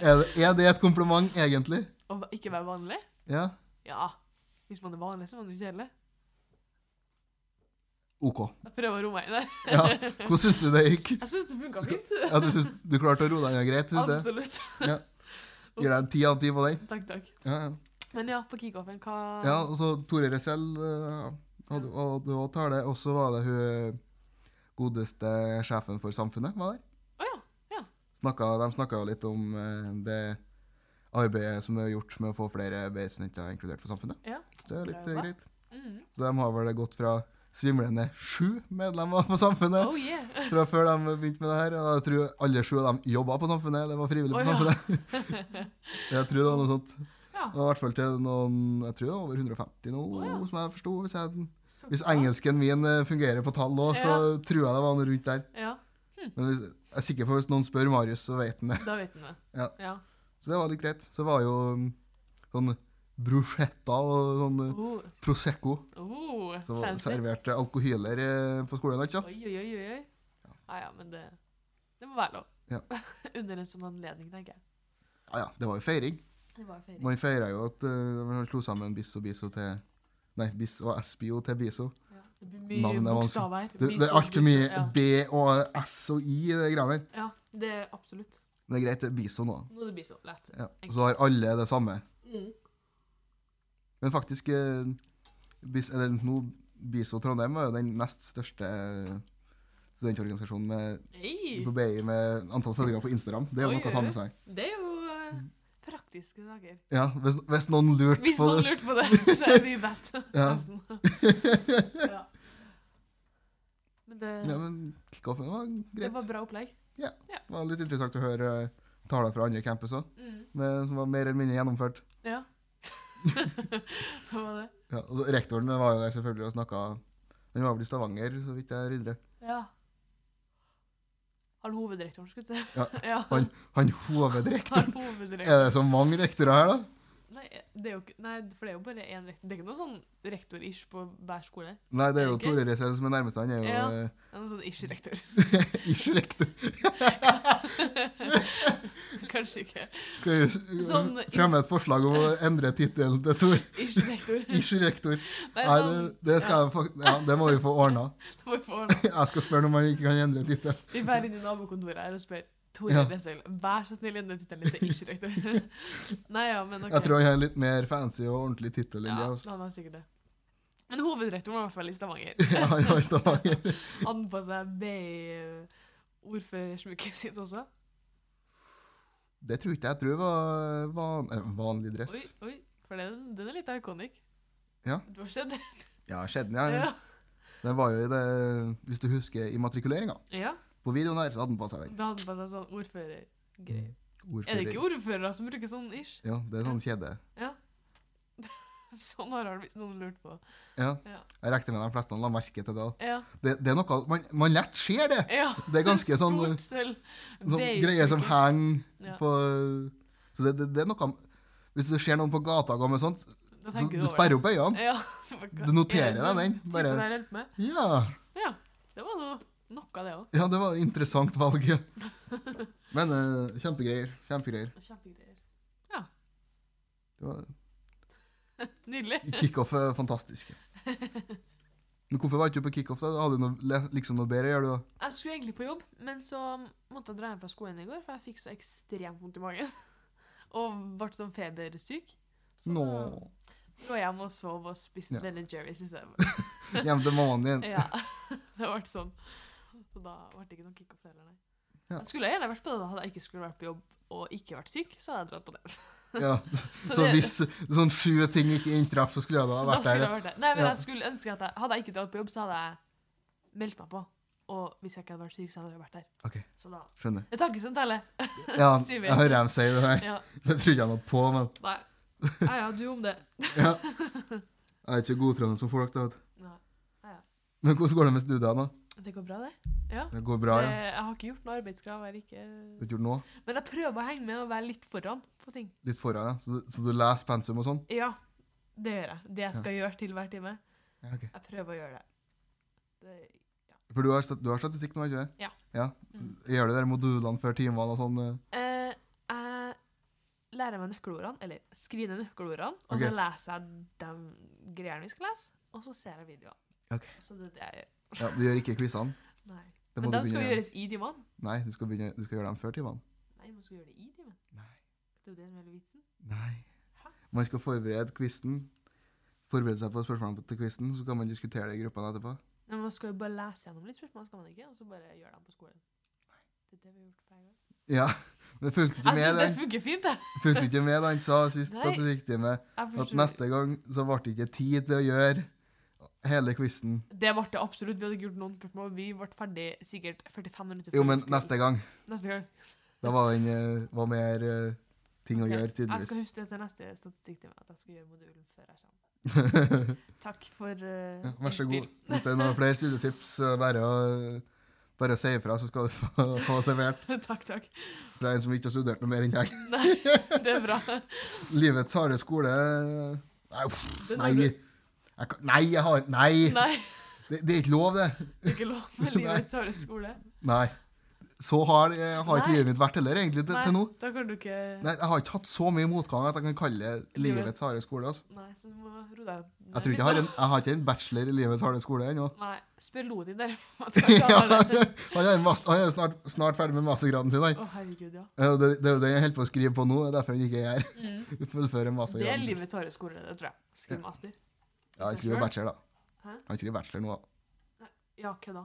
S1: Er det, er det et kompliment, egentlig?
S2: Å ikke være vanlig?
S1: Ja.
S2: Ja. Hvis man er vanlig, så er man jo kjedelig.
S1: OK.
S2: Jeg prøver å roe meg inn der.
S1: Ja. Hvordan syns du det gikk?
S2: Jeg syns det funka fint.
S1: Ja, du, synes, du klarte å roe deg ned greit? Synes du?
S2: Absolutt.
S1: Gir deg en ti av ti på den?
S2: Takk, takk.
S1: Ja, ja.
S2: Men ja, på kickoffen, hva
S1: ja og så Tore Resell eh, hadde hadde også tale, og så var det hun eh, godeste sjefen for Samfunnet var der.
S2: Å ja.
S1: Snakka, de snakka jo litt om eh, det arbeidet som er gjort med å få flere BI-studenter inkludert på Samfunnet.
S2: Ja.
S1: Det er litt eh,
S2: Bra.
S1: greit.
S2: Mm.
S1: Så de har vel gått fra svimlende sju medlemmer på Samfunnet
S2: Oh yeah.
S1: fra før de begynte med det her. Og jeg tror alle sju av dem jobba på Samfunnet, eller var frivillige på
S2: Å, ja.
S1: Samfunnet. jeg tror det var noe sånt.
S2: Ja.
S1: Og I hvert fall til noen Jeg tror det var over 150 nå,
S2: Å, ja.
S1: som jeg forsto. Hvis, jeg-
S2: Så
S1: hvis
S2: bra.
S1: engelsken min eh, fungerer på tall òg, så tror jeg det var noe rundt der.
S2: Ja,
S1: Men hvis, jeg er sikker på hvis noen spør Marius, så vet han det.
S2: da vet han det.
S1: Ja.
S2: ja.
S1: Så det var litt greit. Så var jo mm, sånn bruschetta og sånn eh,
S2: Oh.
S1: prosecco.
S2: Oh.
S1: Så
S2: Fancy.
S1: serverte alkohyler eh, på skolen. Ikke? sant?
S2: Oi, oi, oi. oi. Ah, Ja, ja, men det, det må være lov.
S1: Ja.
S2: Under en sånn anledning, tenker jeg.
S1: Ja, ja, det var jo feiring.
S2: Det var feiring.
S1: Man feira jo at eh, man slo sammen BIS og BISO til Nei, BIS og SBIO til BISO.
S2: Ja. Det blir mye
S1: Navnet er vanskelig.
S2: bokstaver her.
S1: Det, det er
S2: Biso,
S1: altfor mye
S2: biso,
S1: B og S og I i de greiene der.
S2: Ja. ja, det er absolutt.
S1: Men det er greit, det er BISO nå.
S2: Nå er det biso. Lett.
S1: Ja. Og så har alle det samme.
S2: Mm.
S1: Men faktisk eh, BIS, eller nå, BISO Trondheim var jo den nest største eh, studentorganisasjonen med,
S2: Hei,
S1: på BI med antall følgere på Instagram. Det er jo
S2: Oi,
S1: noe å ta
S2: oi,
S1: med seg.
S2: det er jo eh, praktiske saker.
S1: Ja, hvis, hvis noen lurte
S2: Hvis
S1: på
S2: noen
S1: det.
S2: lurte på det, så er vi best.
S1: Ja.
S2: Nesten. ja. Men det,
S1: Ja, men kickoffen var
S2: det
S1: greit.
S2: var bra opplegg.
S1: Det var litt interessant å høre eh, taler fra andre campuser
S2: Mm.
S1: med- som var mer eller mindre gjennomført.
S2: Ja. det var det.
S1: Ja, og så- rektoren var jo der selvfølgelig og snakka Han var vel i Stavanger, så vidt jeg erindrer.
S2: Ja. Han hovedrektoren, skulle jeg si.
S1: Ja,
S2: ja.
S1: han- Han hovedrektoren
S2: Han hovedrektoren.
S1: Er det så mange rektorer her, da?
S2: Nei, det er jo, ikke- nei, for det er jo bare én rektor. Det er ikke noe sånn rektor-ish på hver skole.
S1: Nei, det er jo
S2: Ok.
S1: Tore Resell som er nærmest. Han er jo
S2: Ja.
S1: eh,
S2: Det er noe sånn ish-rektor.
S1: ikke rektor.
S2: Kanskje ikke.
S1: Skal jeg s-
S2: Sånn ins-
S1: fremme et forslag om å endre tittelen til Tor.
S2: Ish-rektor.
S1: Ikke rektor.
S2: Nei,
S1: Nei,
S2: sånn,
S1: det, det skal jeg fak- ja, det må vi få ordna.
S2: ja, må vi få ordne.
S1: Jeg skal spørre om han ikke kan endre tittel.
S2: Vi drar inn i nabokontoret her og spør Tore
S1: Ja.
S2: Bresøl, vær så snill endre tittelen til ish-rektor. Nei, ja, men ok.
S1: Jeg tror han har en litt mer fancy og ordentlig tittel enn
S2: ja,
S1: det. altså.
S2: han har sikkert det. Men hovedrektoren var i hvert fall i Stavanger.
S1: Ja, han var i Stavanger.
S2: Han på seg B-ordførersmykket sitt også.
S1: Det tror ikke jeg. Jeg tror det var van, eh, vanlig dress.
S2: Oi, oi, for den, den er litt iconic.
S1: Ja.
S2: Du har sett det?
S1: Ja, skjedde den, ja.
S2: Ja.
S1: Den var jo i det, hvis du husker, i matrikuleringa.
S2: ja.
S1: På videoen her så hadde den på seg den.
S2: Da hadde han på seg sånn ordførergreie. Er
S1: Mm. Ordfører.
S2: det ikke ordførere som bruker sånn ish?
S1: Ja, det er sånn kjede.
S2: Sånn har han hvis noen lurte på.
S1: Ja.
S2: Ja.
S1: Jeg rekte med de fleste han la merke til det.
S2: Ja.
S1: Det, det er noe man, man lett ser det!
S2: ja.
S1: Det er ganske sånn,
S2: Stort sølv.
S1: sånn
S2: Beige
S1: greier som
S2: smykke.
S1: henger
S2: Ja.
S1: på Så det, det, det er noe Hvis du ser noen på gata gå med sånt,
S2: Da
S1: så
S2: tenker
S1: du
S2: over det.
S1: sperrer opp øynene.
S2: Ja. det var
S1: Du noterer
S2: ikke-
S1: deg den,
S2: typen
S1: bare-
S2: der hjelper meg.
S1: Ja.
S2: Ja. Det var noe, noe av det òg.
S1: ja, det var et interessant valg. ja. Men eh, kjempegreier. Kjempegreier.
S2: Kjempegreier.
S1: Det var
S2: Nydelig.
S1: Kickoff er fantastisk. Men hvorfor var ikke du på kickoff? da? Hadde du noe, le- liksom noe bedre å gjøre? du da?
S2: Jeg skulle egentlig på jobb, men så måtte jeg dra hjem fra skolen i går, for jeg fikk så ekstremt vondt i magen. Og ble sånn febersyk. Så
S1: Nå,
S2: da lå jeg hjemme og sov og spiste
S1: Ja.
S2: Ben Jerry's i stedet.
S1: Hjem til mammaen din.
S2: Ja, det ble sånn. Så da ble det ikke noe kickoff heller, nei.
S1: Ja.
S2: Jeg skulle gjerne vært på det, da hadde jeg ikke skulle vært på jobb og ikke vært syk, så hadde jeg dratt på det.
S1: Ja.
S2: Så
S1: Så
S2: det-
S1: hvis sånn sju ting ikke inntraff, så skulle jeg da ha
S2: Da
S1: vært
S2: skulle
S1: der.
S2: jeg vært der. Nei, men
S1: Ja.
S2: jeg skulle ønske at jeg, Hadde jeg ikke dratt på jobb, så hadde jeg meldt meg på. Og hvis jeg ikke hadde vært syk, så hadde jeg vært der.
S1: Ok,
S2: Så da
S1: skjønner.
S2: Det er tanken som teller.
S1: Ja,
S2: Sier vi.
S1: jeg hører dem si det her.
S2: Ja.
S1: Det trodde jeg noe på, men
S2: Nei. Ja, ja, du om det.
S1: ja. Jeg er ikke så godtrent som folk. da. vet du.
S2: Nei.
S1: Men hvordan går det med studiene? da?
S2: Det går bra, det.
S1: Det går bra, ja.
S2: Eh, Jeg har ikke gjort noe arbeidskrav. Jeg er ikke...
S1: Du har ikke gjort noe?
S2: Men jeg prøver å henge med og være litt foran på ting.
S1: Litt foran, ja. Så du, så du leser pensum og sånn?
S2: Ja, det gjør jeg. Det jeg skal gjøre til hver time.
S1: Ja, ok.
S2: Jeg prøver å gjøre det. det
S1: For du har, stat- du har statistikk nå, ikke det?
S2: Ja.
S1: ja.
S2: Mm.
S1: Gjør du de modulene før timene og sånn? eh?
S2: eh, jeg lærer meg nøkkelordene, eller skriver ned nøkkelordene, og
S1: Ok.
S2: så leser jeg de greiene vi skal lese, og så ser jeg videoene.
S1: Ok.
S2: Så det er det jeg gjør.
S1: eh? Ja, du gjør ikke quizene?
S2: Nei.
S1: Det må
S2: Men
S1: du
S2: de skal
S1: begynne
S2: jo
S1: gjøre.
S2: gjøres i timene.
S1: Nei, du skal, begynne, du skal gjøre dem før timene.
S2: Nei, man skal gjøre det i timen.
S1: Nei.
S2: Det er jo det som er hele vitsen.
S1: Nei.
S2: Hæ?
S1: Man skal forberede quizen. Forberede seg på spørsmålene på- til quizen, så kan man diskutere det i gruppene etterpå.
S2: Men man skal jo bare lese gjennom litt spørsmål, skal man ikke? Og så bare gjøre dem på skolen. Det er det vi har gjort hver gang.
S1: Ja, men fulgte ikke
S2: Jeg
S1: med
S2: syns det
S1: den.
S2: funker fint, jeg.
S1: Fulgte ikke med da han sa sist
S2: Nei.
S1: statistikktimen
S2: jeg
S1: at
S2: forstår-
S1: neste gang så ble det ikke tid til å gjøre hele quizen.
S2: Det ble det absolutt. Vi hadde ikke gjort noen spørsmål. Vi ble ferdig sikkert 45 minutter
S1: Jo, men
S2: skolen.
S1: neste gang.
S2: Neste gang.
S1: Da var den eh, var mer eh, ting å
S2: Ok,
S1: gjøre,
S2: Jeg skal
S1: tydeligvis.
S2: huske det til neste statistikktime, at jeg skal gjøre modulen før jeg kommer.
S1: ja,
S2: Takk for eh,
S1: vær så
S2: innspill.
S1: god. Hvis det er noen flere studietips, så bare å bare å si ifra, så skal du få, få levert
S2: takk, takk.
S1: fra en som ikke har studert noe mer enn deg.
S2: Nei, det er bra.
S1: Livets harde skole Nei, uff,
S2: Den
S1: nei.
S2: har du-
S1: Jeg kan, nei, jeg har Nei!
S2: Nei,
S1: Det, det er ikke lov, det.
S2: det er ikke lov med livets harde skole.
S1: Nei. Så har, eh, har ikke
S2: Nei.
S1: livet mitt vært heller, egentlig, til, til nå.
S2: Nei, da kan du ikke
S1: Nei, Jeg har ikke hatt så mye motgang at jeg kan kalle det
S2: Livet.
S1: livets harde skole. Altså.
S2: Nei, så du må roe deg ned
S1: Jeg tror
S2: litt,
S1: ikke jeg har
S2: da.
S1: en, jeg har ikke en bachelor i livets harde skole ennå.
S2: Nei, spør Lodi der. Å,
S1: Ja, han er, en mas- han er jo snart, snart ferdig med mastergraden sin. han.
S2: herregud, ja.
S1: Eh, Det, det er jo den jeg holder på å skrive på nå. Det er derfor jeg ikke er her.
S2: Mm.
S1: Fullføre
S2: Det er
S1: mastergraden sin.
S2: livets harde skole, det tror jeg. Skriv master.
S1: Ja, jeg skriver bachelor, da.
S2: Hæ?
S1: Han skriver bachelor nå, da.
S2: Ja, hva da?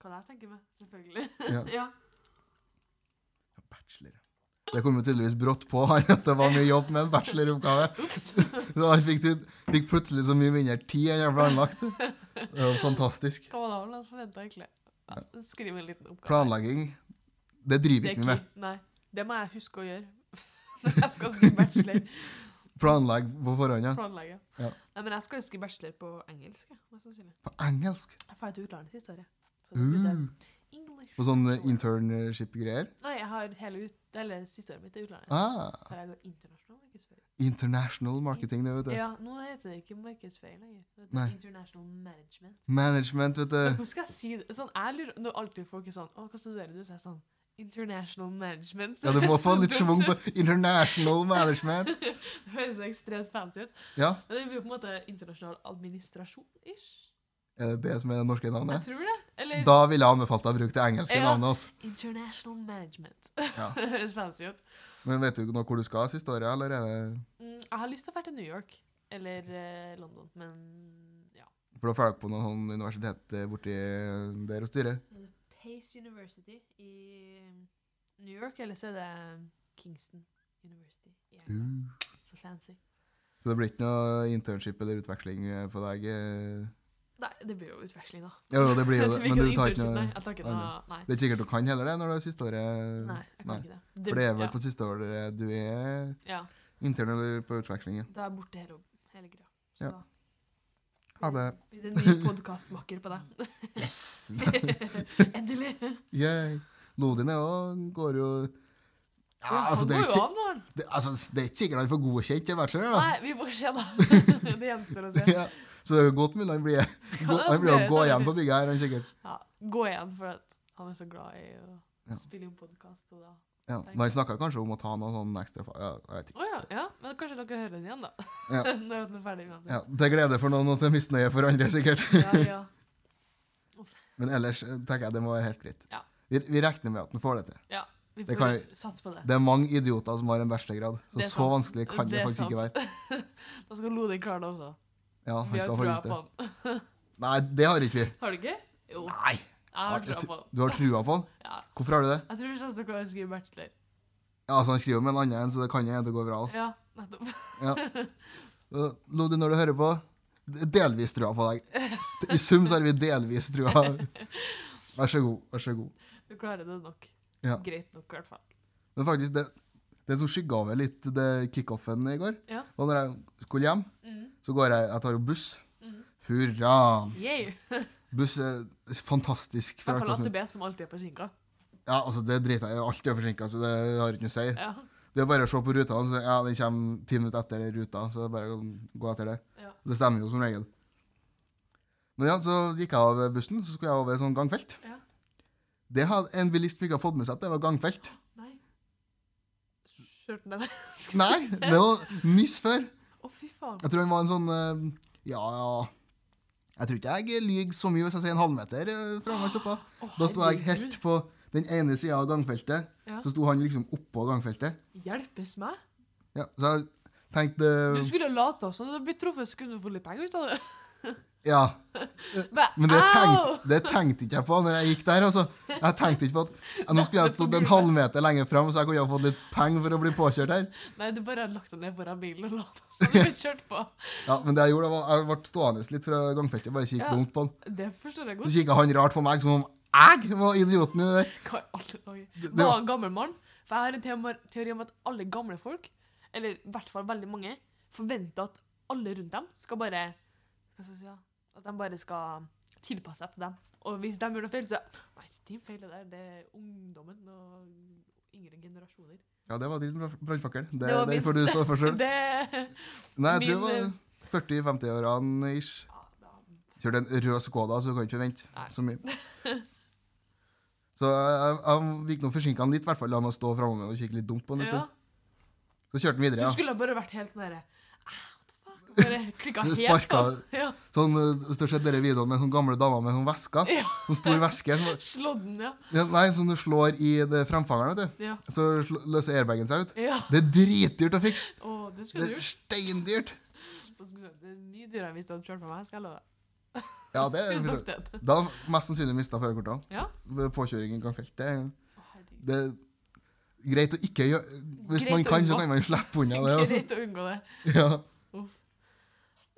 S2: Hva jeg tenker med? Selvfølgelig.
S1: Ja.
S2: ja.
S1: Ja, Bachelor. Det kom jo tydeligvis brått på han at det var mye jobb med en bacheloroppgave.
S2: Ups.
S1: Så han fikk, tyd- fikk plutselig så mye mindre tid enn jeg planlagt. Det var fantastisk.
S2: Hva var det han forventa, egentlig? Ja, skriv en liten oppgave.
S1: Planlegging, det driver
S2: Det er
S1: ikke vi med.
S2: ikke- Nei. Det må jeg huske å gjøre. Når jeg skal skrive bachelor.
S1: Planlegg på forhånd, ja.
S2: Planlegge.
S1: Ja.
S2: Nei, men jeg skal skrive bachelor på engelsk, jeg, mest sannsynlig.
S1: På engelsk.
S2: Jeg drar til utlandet siste året. Så da blir det
S1: Uh,
S2: English.
S1: på sånn internship-greier.
S2: Nei, jeg har hele, ut, hele siste året mitt i utlandet.
S1: Ah,
S2: For jeg går internasjonal markedsføring.
S1: international marketing, det, vet du.
S2: Ja, nå heter det ikke markedsføring lenger. Det heter
S1: Nei.
S2: International Management.
S1: Management, vet
S2: Men
S1: du.
S2: Hvordan skal jeg si det? Sånn, jeg lurer, når alltid folk er sånn, å, hva studerer du? Så er jeg sånn, International Management. Så
S1: Ja, du må
S2: høres
S1: få
S2: så
S1: litt
S2: dumt
S1: schwung
S2: ut.
S1: på international management.
S2: Det høres så ekstremt fancy ut.
S1: Ja,
S2: Men det blir jo på en måte internasjonal administrasjon-ish.
S1: er det det som er det norske
S2: Jeg
S1: navnet?
S2: tror det. Eller
S1: Da ville jeg anbefalt deg å bruke det engelske
S2: Ja.
S1: navnet. Også.
S2: International Management.
S1: Ja.
S2: det høres fancy ut.
S1: Men vet du nå hvor du skal siste året, eller er det
S2: Mm, jeg har lyst til å være til New York, eller eh, London, men ja.
S1: For da får dere på noe sånn universitet eh, borti der og styrer.
S2: Pace University i mm, New York, eller så er det mm, Kingston University i
S1: Mm.
S2: England. Så fancy.
S1: Så det blir ikke noe internship eller utveksling eh, på deg? eh.
S2: Nei, det blir jo utveksling, da.
S1: Jo, jo, det blir jo
S2: Det
S1: det,
S2: blir
S1: men du
S2: noe
S1: tar ikke noe
S2: internship, Nei, jeg tar ikke noe Nei.
S1: Det er ikke sikkert du kan heller det når det er siste året.
S2: Nei, jeg kan
S1: nei.
S2: ikke det.
S1: For det er vel
S2: ja,
S1: på siste året du er
S2: ja,
S1: intern eller på utveksling. ja.
S2: da er jeg borte hele, hele greia. Så
S1: Ja.
S2: da
S1: Ha det.
S2: blir det en ny podkastmakker på deg.
S1: Yes!
S2: Endelig.
S1: Yay. Lodin er jo- går jo ja,
S2: Ja,
S1: altså,
S2: han
S1: det, er
S2: går
S1: ikke,
S2: jo
S1: sik-
S2: av nå, han.
S1: det, altså, det er ikke sikkert han får godkjent til bachelor. da.
S2: Nei, vi får se, da. Det gjenstår å se.
S1: Ja. Så det er jo godt mulig han blir,
S2: Kan
S1: han blir å
S2: det
S1: gå
S2: være
S1: igjen
S2: det?
S1: på bygget her, han sikkert.
S2: Ja, gå igjen, for at han er så glad i å
S1: Ja.
S2: Spille inn podkast og da
S1: Ja. Man snakka kanskje om å ta noen sånn ekstra fa- ja, jeg vet
S2: Å ja,
S1: ikke.
S2: ja. Men kanskje dere hører den igjen, da.
S1: Ja.
S2: Når den er ferdig uansett.
S1: Ja, til glede for noen og til misnøye for andre, sikkert.
S2: Ja, ja.
S1: Men ellers eh, tenker jeg det må være helt greit.
S2: Ja.
S1: Vi, vi regner med at den får det til.
S2: Vi
S1: Det
S2: får
S1: kan-
S2: satse på det.
S1: Det er mange idioter som har en bachelorgrad, så
S2: Det er
S1: så
S2: sant.
S1: vanskelig kan det,
S2: Det er
S1: faktisk ikke
S2: sant.
S1: være.
S2: Da skal Lodin klare det også.
S1: Ja, han
S2: Vi har
S1: skal
S2: trua
S1: faktisk
S2: på
S1: det.
S2: han.
S1: Nei, det har ikke vi.
S2: Har du ikke? Jo,
S1: Nei!
S2: jeg har
S1: Jeg
S2: trua
S1: tr-
S2: på han.
S1: Du har trua på han?
S2: Ja.
S1: Hvorfor har du det?
S2: Jeg tror vi kommer til å klare å skrive bachelor.
S1: Ja, altså Han skriver om en annen, så det kan hende det går bra. da.
S2: Ja, nettopp.
S1: Så, Lodi, når du hører på, d- delvis trua på deg. I sum så har vi delvis trua. Vær så god. Vær så god.
S2: Du klarer det nok.
S1: Ja.
S2: Greit nok, i hvert fall.
S1: Men faktisk, det, det som skygga over litt det kickoffen i går
S2: Ja.
S1: Og når jeg skulle hjem,
S2: Mm.
S1: så går jeg Jeg tar jo buss.
S2: Mhm.
S1: Hurra!
S2: Yay!
S1: Buss er fantastisk.
S2: I
S1: for
S2: hvert fall
S1: alt som-
S2: AtB, som alltid er forsinka.
S1: Ja, altså Det driter jeg i. Alt er forsinka, så det har ikke noe å si.
S2: Ja.
S1: Det er bare å se på ruta. Så ja, Den kommer ti minutter etter ruta, så det er bare å gå etter det.
S2: Ja.
S1: Det stemmer jo som regel. Men ja, så gikk jeg av bussen, så skulle jeg over et sånt gangfelt.
S2: Ja.
S1: Det hadde en bilist som ikke har fått med seg at det var gangfelt.
S2: Nei. Skjørten den Å,
S1: Nei, det var nyss før.
S2: fy faen.
S1: Jeg tror han var en sånn eh, Ja, ja Jeg tror ikke jeg lyver så mye hvis jeg sier en halvmeter eh, fra meg stoppa.
S2: Å,
S1: Da sto jeg
S2: herregud.
S1: helt på den ene sida av gangfeltet,
S2: Ja.
S1: så sto han liksom oppå gangfeltet.
S2: Hjelpes meg?
S1: Ja, så jeg tenkte
S2: Du skulle late også. Når du blir truffet, så kunne du få litt penger ut av det.
S1: Ja.
S2: Bare,
S1: Men det
S2: au!
S1: tenkte, det tenkte ikke jeg på når jeg gikk der. Altså. Jeg tenkte ikke på at ja, nå skulle jeg stått en halvmeter lenger fram, så jeg kunne ha fått litt penger for å bli påkjørt her.
S2: Nei, du bare hadde lagt deg ned foran bilen og lata som du ble kjørt på.
S1: Ja, Men det jeg gjorde, var jeg ble stående litt fra gangfeltet, bare kikket
S2: Ja.
S1: dumt på han.
S2: Det forstår jeg
S1: Så
S2: godt.
S1: kikka han rart på meg, som om jeg var idioten i det der.
S2: Hva i alle dager?
S1: det
S2: Var
S1: var-
S2: han gammel mann? For jeg har en teori- teori om at alle gamle folk, eller i hvert fall veldig mange, forventer at alle rundt dem skal bare Hva skal jeg si? da? At de bare skal tilpasse seg til dem. Og hvis de gjør noe feil, så Nei, din feil er der. Det er ungdommen og yngre generasjoner.
S1: Ja, det var din brand- brannfakkel. Det,
S2: Det var
S1: den
S2: min.
S1: får du stå for sjøl.
S2: Det
S1: Nei, jeg tror det
S2: min, eh,
S1: var 40-50-årene ish.
S2: ja, da,
S1: Kjørte en rød Skoda, så du kan ikke forvente
S2: Nei.
S1: så mye. Så jeg, jeg gikk nå forsinka litt, i hvert fall. La meg stå framme og kikke litt dumt på han en
S2: ja.
S1: stund. Så kjørte han
S2: Du
S1: videre. Sånn ja.
S2: skulle bare vært helt sånn herre Bare klikka
S1: Du
S2: helt
S1: sparka-
S2: på. Ja,
S1: Sånn, eh, Hvis du har sett denne videoen med sånn gamle damer med sånn vesker,
S2: Ja.
S1: sånn stor veske som,
S2: Slått den, ja.
S1: ja, Nei, som du slår i det fremfangeren, vet
S2: Ja.
S1: du. Så sl- løser airbagen seg ut.
S2: ja.
S1: Det er dritdyrt å fikse!
S2: Å, det
S1: Det
S2: skulle du
S1: er
S2: gjort.
S1: steindyrt!
S2: Hva skal jeg si? Det er mye dyrere hvis du hadde kjørt på meg, skal jeg love deg.
S1: Ja, det er
S2: Skulle sagt det.
S1: Da har mest sannsynlig mista førerkortene.
S2: Ja.
S1: Ved Påkjøring i gangfelt. Det, er-
S2: Å, herregud.
S1: det er greit å ikke gjøre Hvis
S2: Greit
S1: man
S2: å
S1: kan, så
S2: unngå.
S1: kan man slippe unna det. Altså.
S2: Greit å unngå det.
S1: Ja,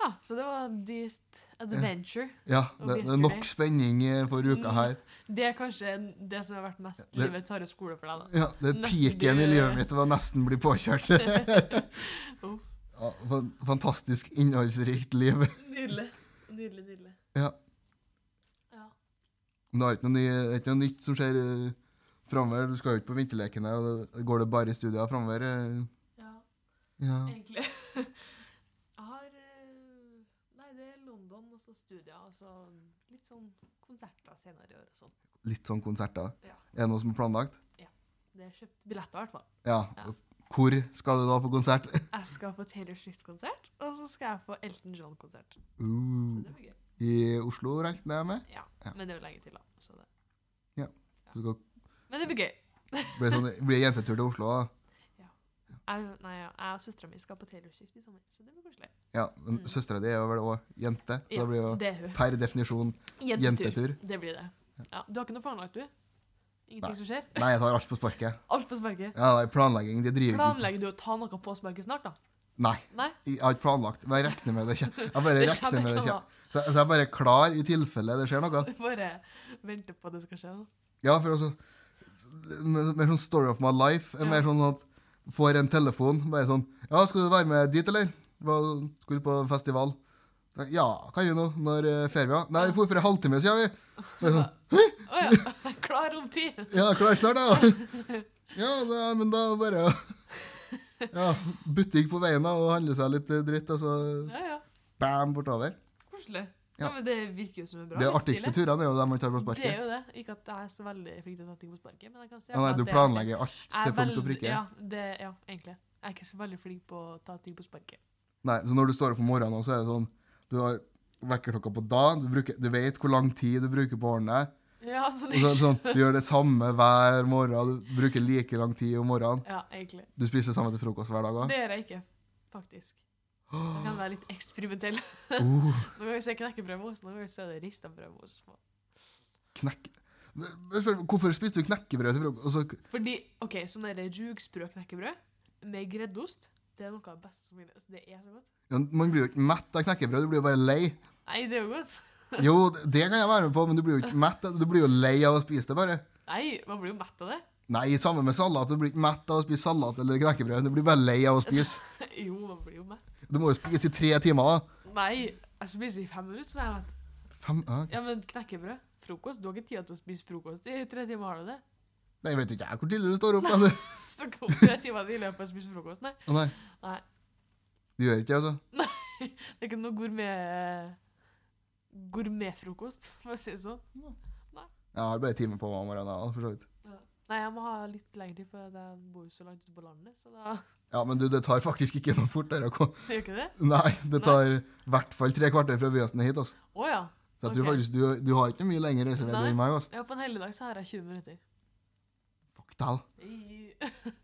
S2: Ja, så det var ditt adventure.
S1: ja
S2: Og Mm.
S1: det,
S2: vi
S1: det er
S2: skulle-
S1: nok spenning eh, for uka her.
S2: Det er kanskje det som har vært mest
S1: Det-
S2: livets harde skole for deg,
S1: Ja, det er
S2: Nesten
S1: piken i
S2: blir-
S1: livet mitt var nesten bli påkjørt.
S2: da. Uff.
S1: Ja, fan- fantastisk innholdsrikt liv.
S2: Nydelig. Nydelig, nydelig.
S1: Ja.
S2: Ja.
S1: Men Det er ikke noe, ny, det er ikke noe nytt som skjer eh, framover. Du skal jo ikke på vinterlekene. og det- Går det bare i studier framover? eh,
S2: ja.
S1: Ja.
S2: egentlig. Jeg har eh, Nei, det er London og så studier. Og så litt sånn konserter senere i år og sånn.
S1: Litt sånn konserter.
S2: Ja.
S1: Er det noe som er planlagt?
S2: Det er kjøpt billetter, i hvert fall.
S1: Ja.
S2: Ja.
S1: Hvor skal du da på konsert?
S2: Jeg skal på Taylor Swift-konsert, og så skal jeg på Elton John-konsert. Så
S1: Uh,
S2: det blir gøy.
S1: I Oslo, regner jeg med?
S2: Ja,
S1: Ja.
S2: Men det er jo lenge til, da. Så det.
S1: Du skal,
S2: Men det blir gøy.
S1: blir det sånn, blir det jentetur til Oslo? da?
S2: Jeg, nei, ja, jeg og søstera mi skal på Taylor Swift i sommer, så det blir koselig.
S1: Ja, men
S2: Mm.
S1: Søstera di er jo vel òg jente, så
S2: Ja,
S1: det blir jo
S2: det er hun.
S1: per definisjon jentetur.
S2: Det blir det. Ja, du har ikke noe planlagt, du? Ingenting
S1: Nei.
S2: som skjer?
S1: Nei, jeg tar alt på sparket.
S2: Alt på sparket?
S1: Ja, nei, Planlegging, det driver ikke
S2: Planlegger du å ta noe på sparket snart, da?
S1: Nei,
S2: Nei?
S1: jeg har ikke planlagt. Men jeg regner med det kjem- Jeg bare regner med det
S2: kommer.
S1: kommer. Så, så jeg er bare klar i tilfelle det skjer noe.
S2: Bare vente på at det skal skje. da.
S1: Ja, for altså mer- Mer sånn story of my life. er
S2: Ja.
S1: Mer sånn at får en telefon bare sånn Ja, skal du være med dit, eller? Hva- Skal du på festival? Ja, kan vi nå. Når eh, fer vi? da? Nei, vi for for en halvtime siden, vi. Bare sånn,
S2: Å ja. Klar om tid.
S1: ja, klar snart, da. Ja, da, men da bare Ja, butikk på veien da, og handle seg litt eh, dritt, og så
S2: Ja, ja.
S1: bam, bortover.
S2: Koselig.
S1: Ja.
S2: men det virker jo som en bra
S1: Det er
S2: livsstil,
S1: artigste turene er jo dem man tar på
S2: Det er
S1: sparket.
S2: jo det. Ikke at jeg er så veldig flink til å ta ting på sparket, men jeg kan si
S1: Ja, nei,
S2: at
S1: du
S2: det-
S1: planlegger alt
S2: jeg er
S1: til punkt og
S2: veld-
S1: prikke.
S2: Ja, det, ja, egentlig. Jeg er ikke så veldig flink på å ta ting på sparket.
S1: Nei, så når du står opp om morgenen, også, så er det sånn Du har vekkerklokka på dagen, du, bruker, du vet hvor lang tid du bruker på å ordne deg.
S2: Ja, så
S1: Og så er det sånn, du gjør det samme hver morgen, du bruker like lang tid om morgenen.
S2: Ja, egentlig.
S1: Du spiser det samme til frokost hver dag òg.
S2: Det gjør jeg ikke, faktisk. Jeg kan være litt eksperimentell.
S1: Uh,
S2: Noen ganger så er det knekkebrødmos, noen ganger så er det rista brødmos.
S1: knekk... Jeg spør, Hvorfor spiser du knekkebrød til frokost? Altså, Og så,
S2: Fordi, ok, sånn der rugsprø knekkebrød med greddost, det er noe av det beste som finnes. Det er så godt.
S1: ja, man blir jo ikke mett av knekkebrød, du blir jo bare lei.
S2: Nei, det er jo godt.
S1: Jo, det kan jeg være med på, men du blir jo ikke mett. av- Du blir jo lei av å spise det, bare.
S2: Nei, man blir jo mett av det.
S1: Nei, samme med salat. Du blir ikke mett av å spise salat eller knekkebrød. Du blir bare lei av å spise.
S2: Jo, man blir jo mett.
S1: Du må jo spise i tre timer, da.
S2: Nei, jeg spiser i fem minutter, så er jeg mett.
S1: Fem, ja,
S2: Ja, men knekkebrød, frokost, du har ikke tid til å spise frokost i tre timer, har du det?
S1: Nei, vet ikke jeg hvor tidlig du står opp. da, du.
S2: Stokk opp tre timer i løpet og spise frokost, nei.
S1: Å, Nei.
S2: Nei.
S1: Du gjør ikke det, altså?
S2: Det er ikke noe gourmet... eh, Gourmetfrokost, for å si det sånn.
S1: Jeg har bare en time på meg om morgenen, da, for så vidt.
S2: Nei, jeg må ha litt lengre tid, for jeg bor jo så langt ute på landet, så da
S1: Ja, men du, det tar faktisk ikke noe fortere å komme
S2: gjør ikke det.
S1: Nei, det tar i hvert fall tre kvarter fra byen hit, altså.
S2: Å ja.
S1: Så jeg tror
S2: Ok.
S1: faktisk du, du har ikke mye lengre reisevei
S2: Nei.
S1: enn meg, altså.
S2: ja. På en helligdag så har jeg 20 minutter.
S1: Fuck tell.
S2: I-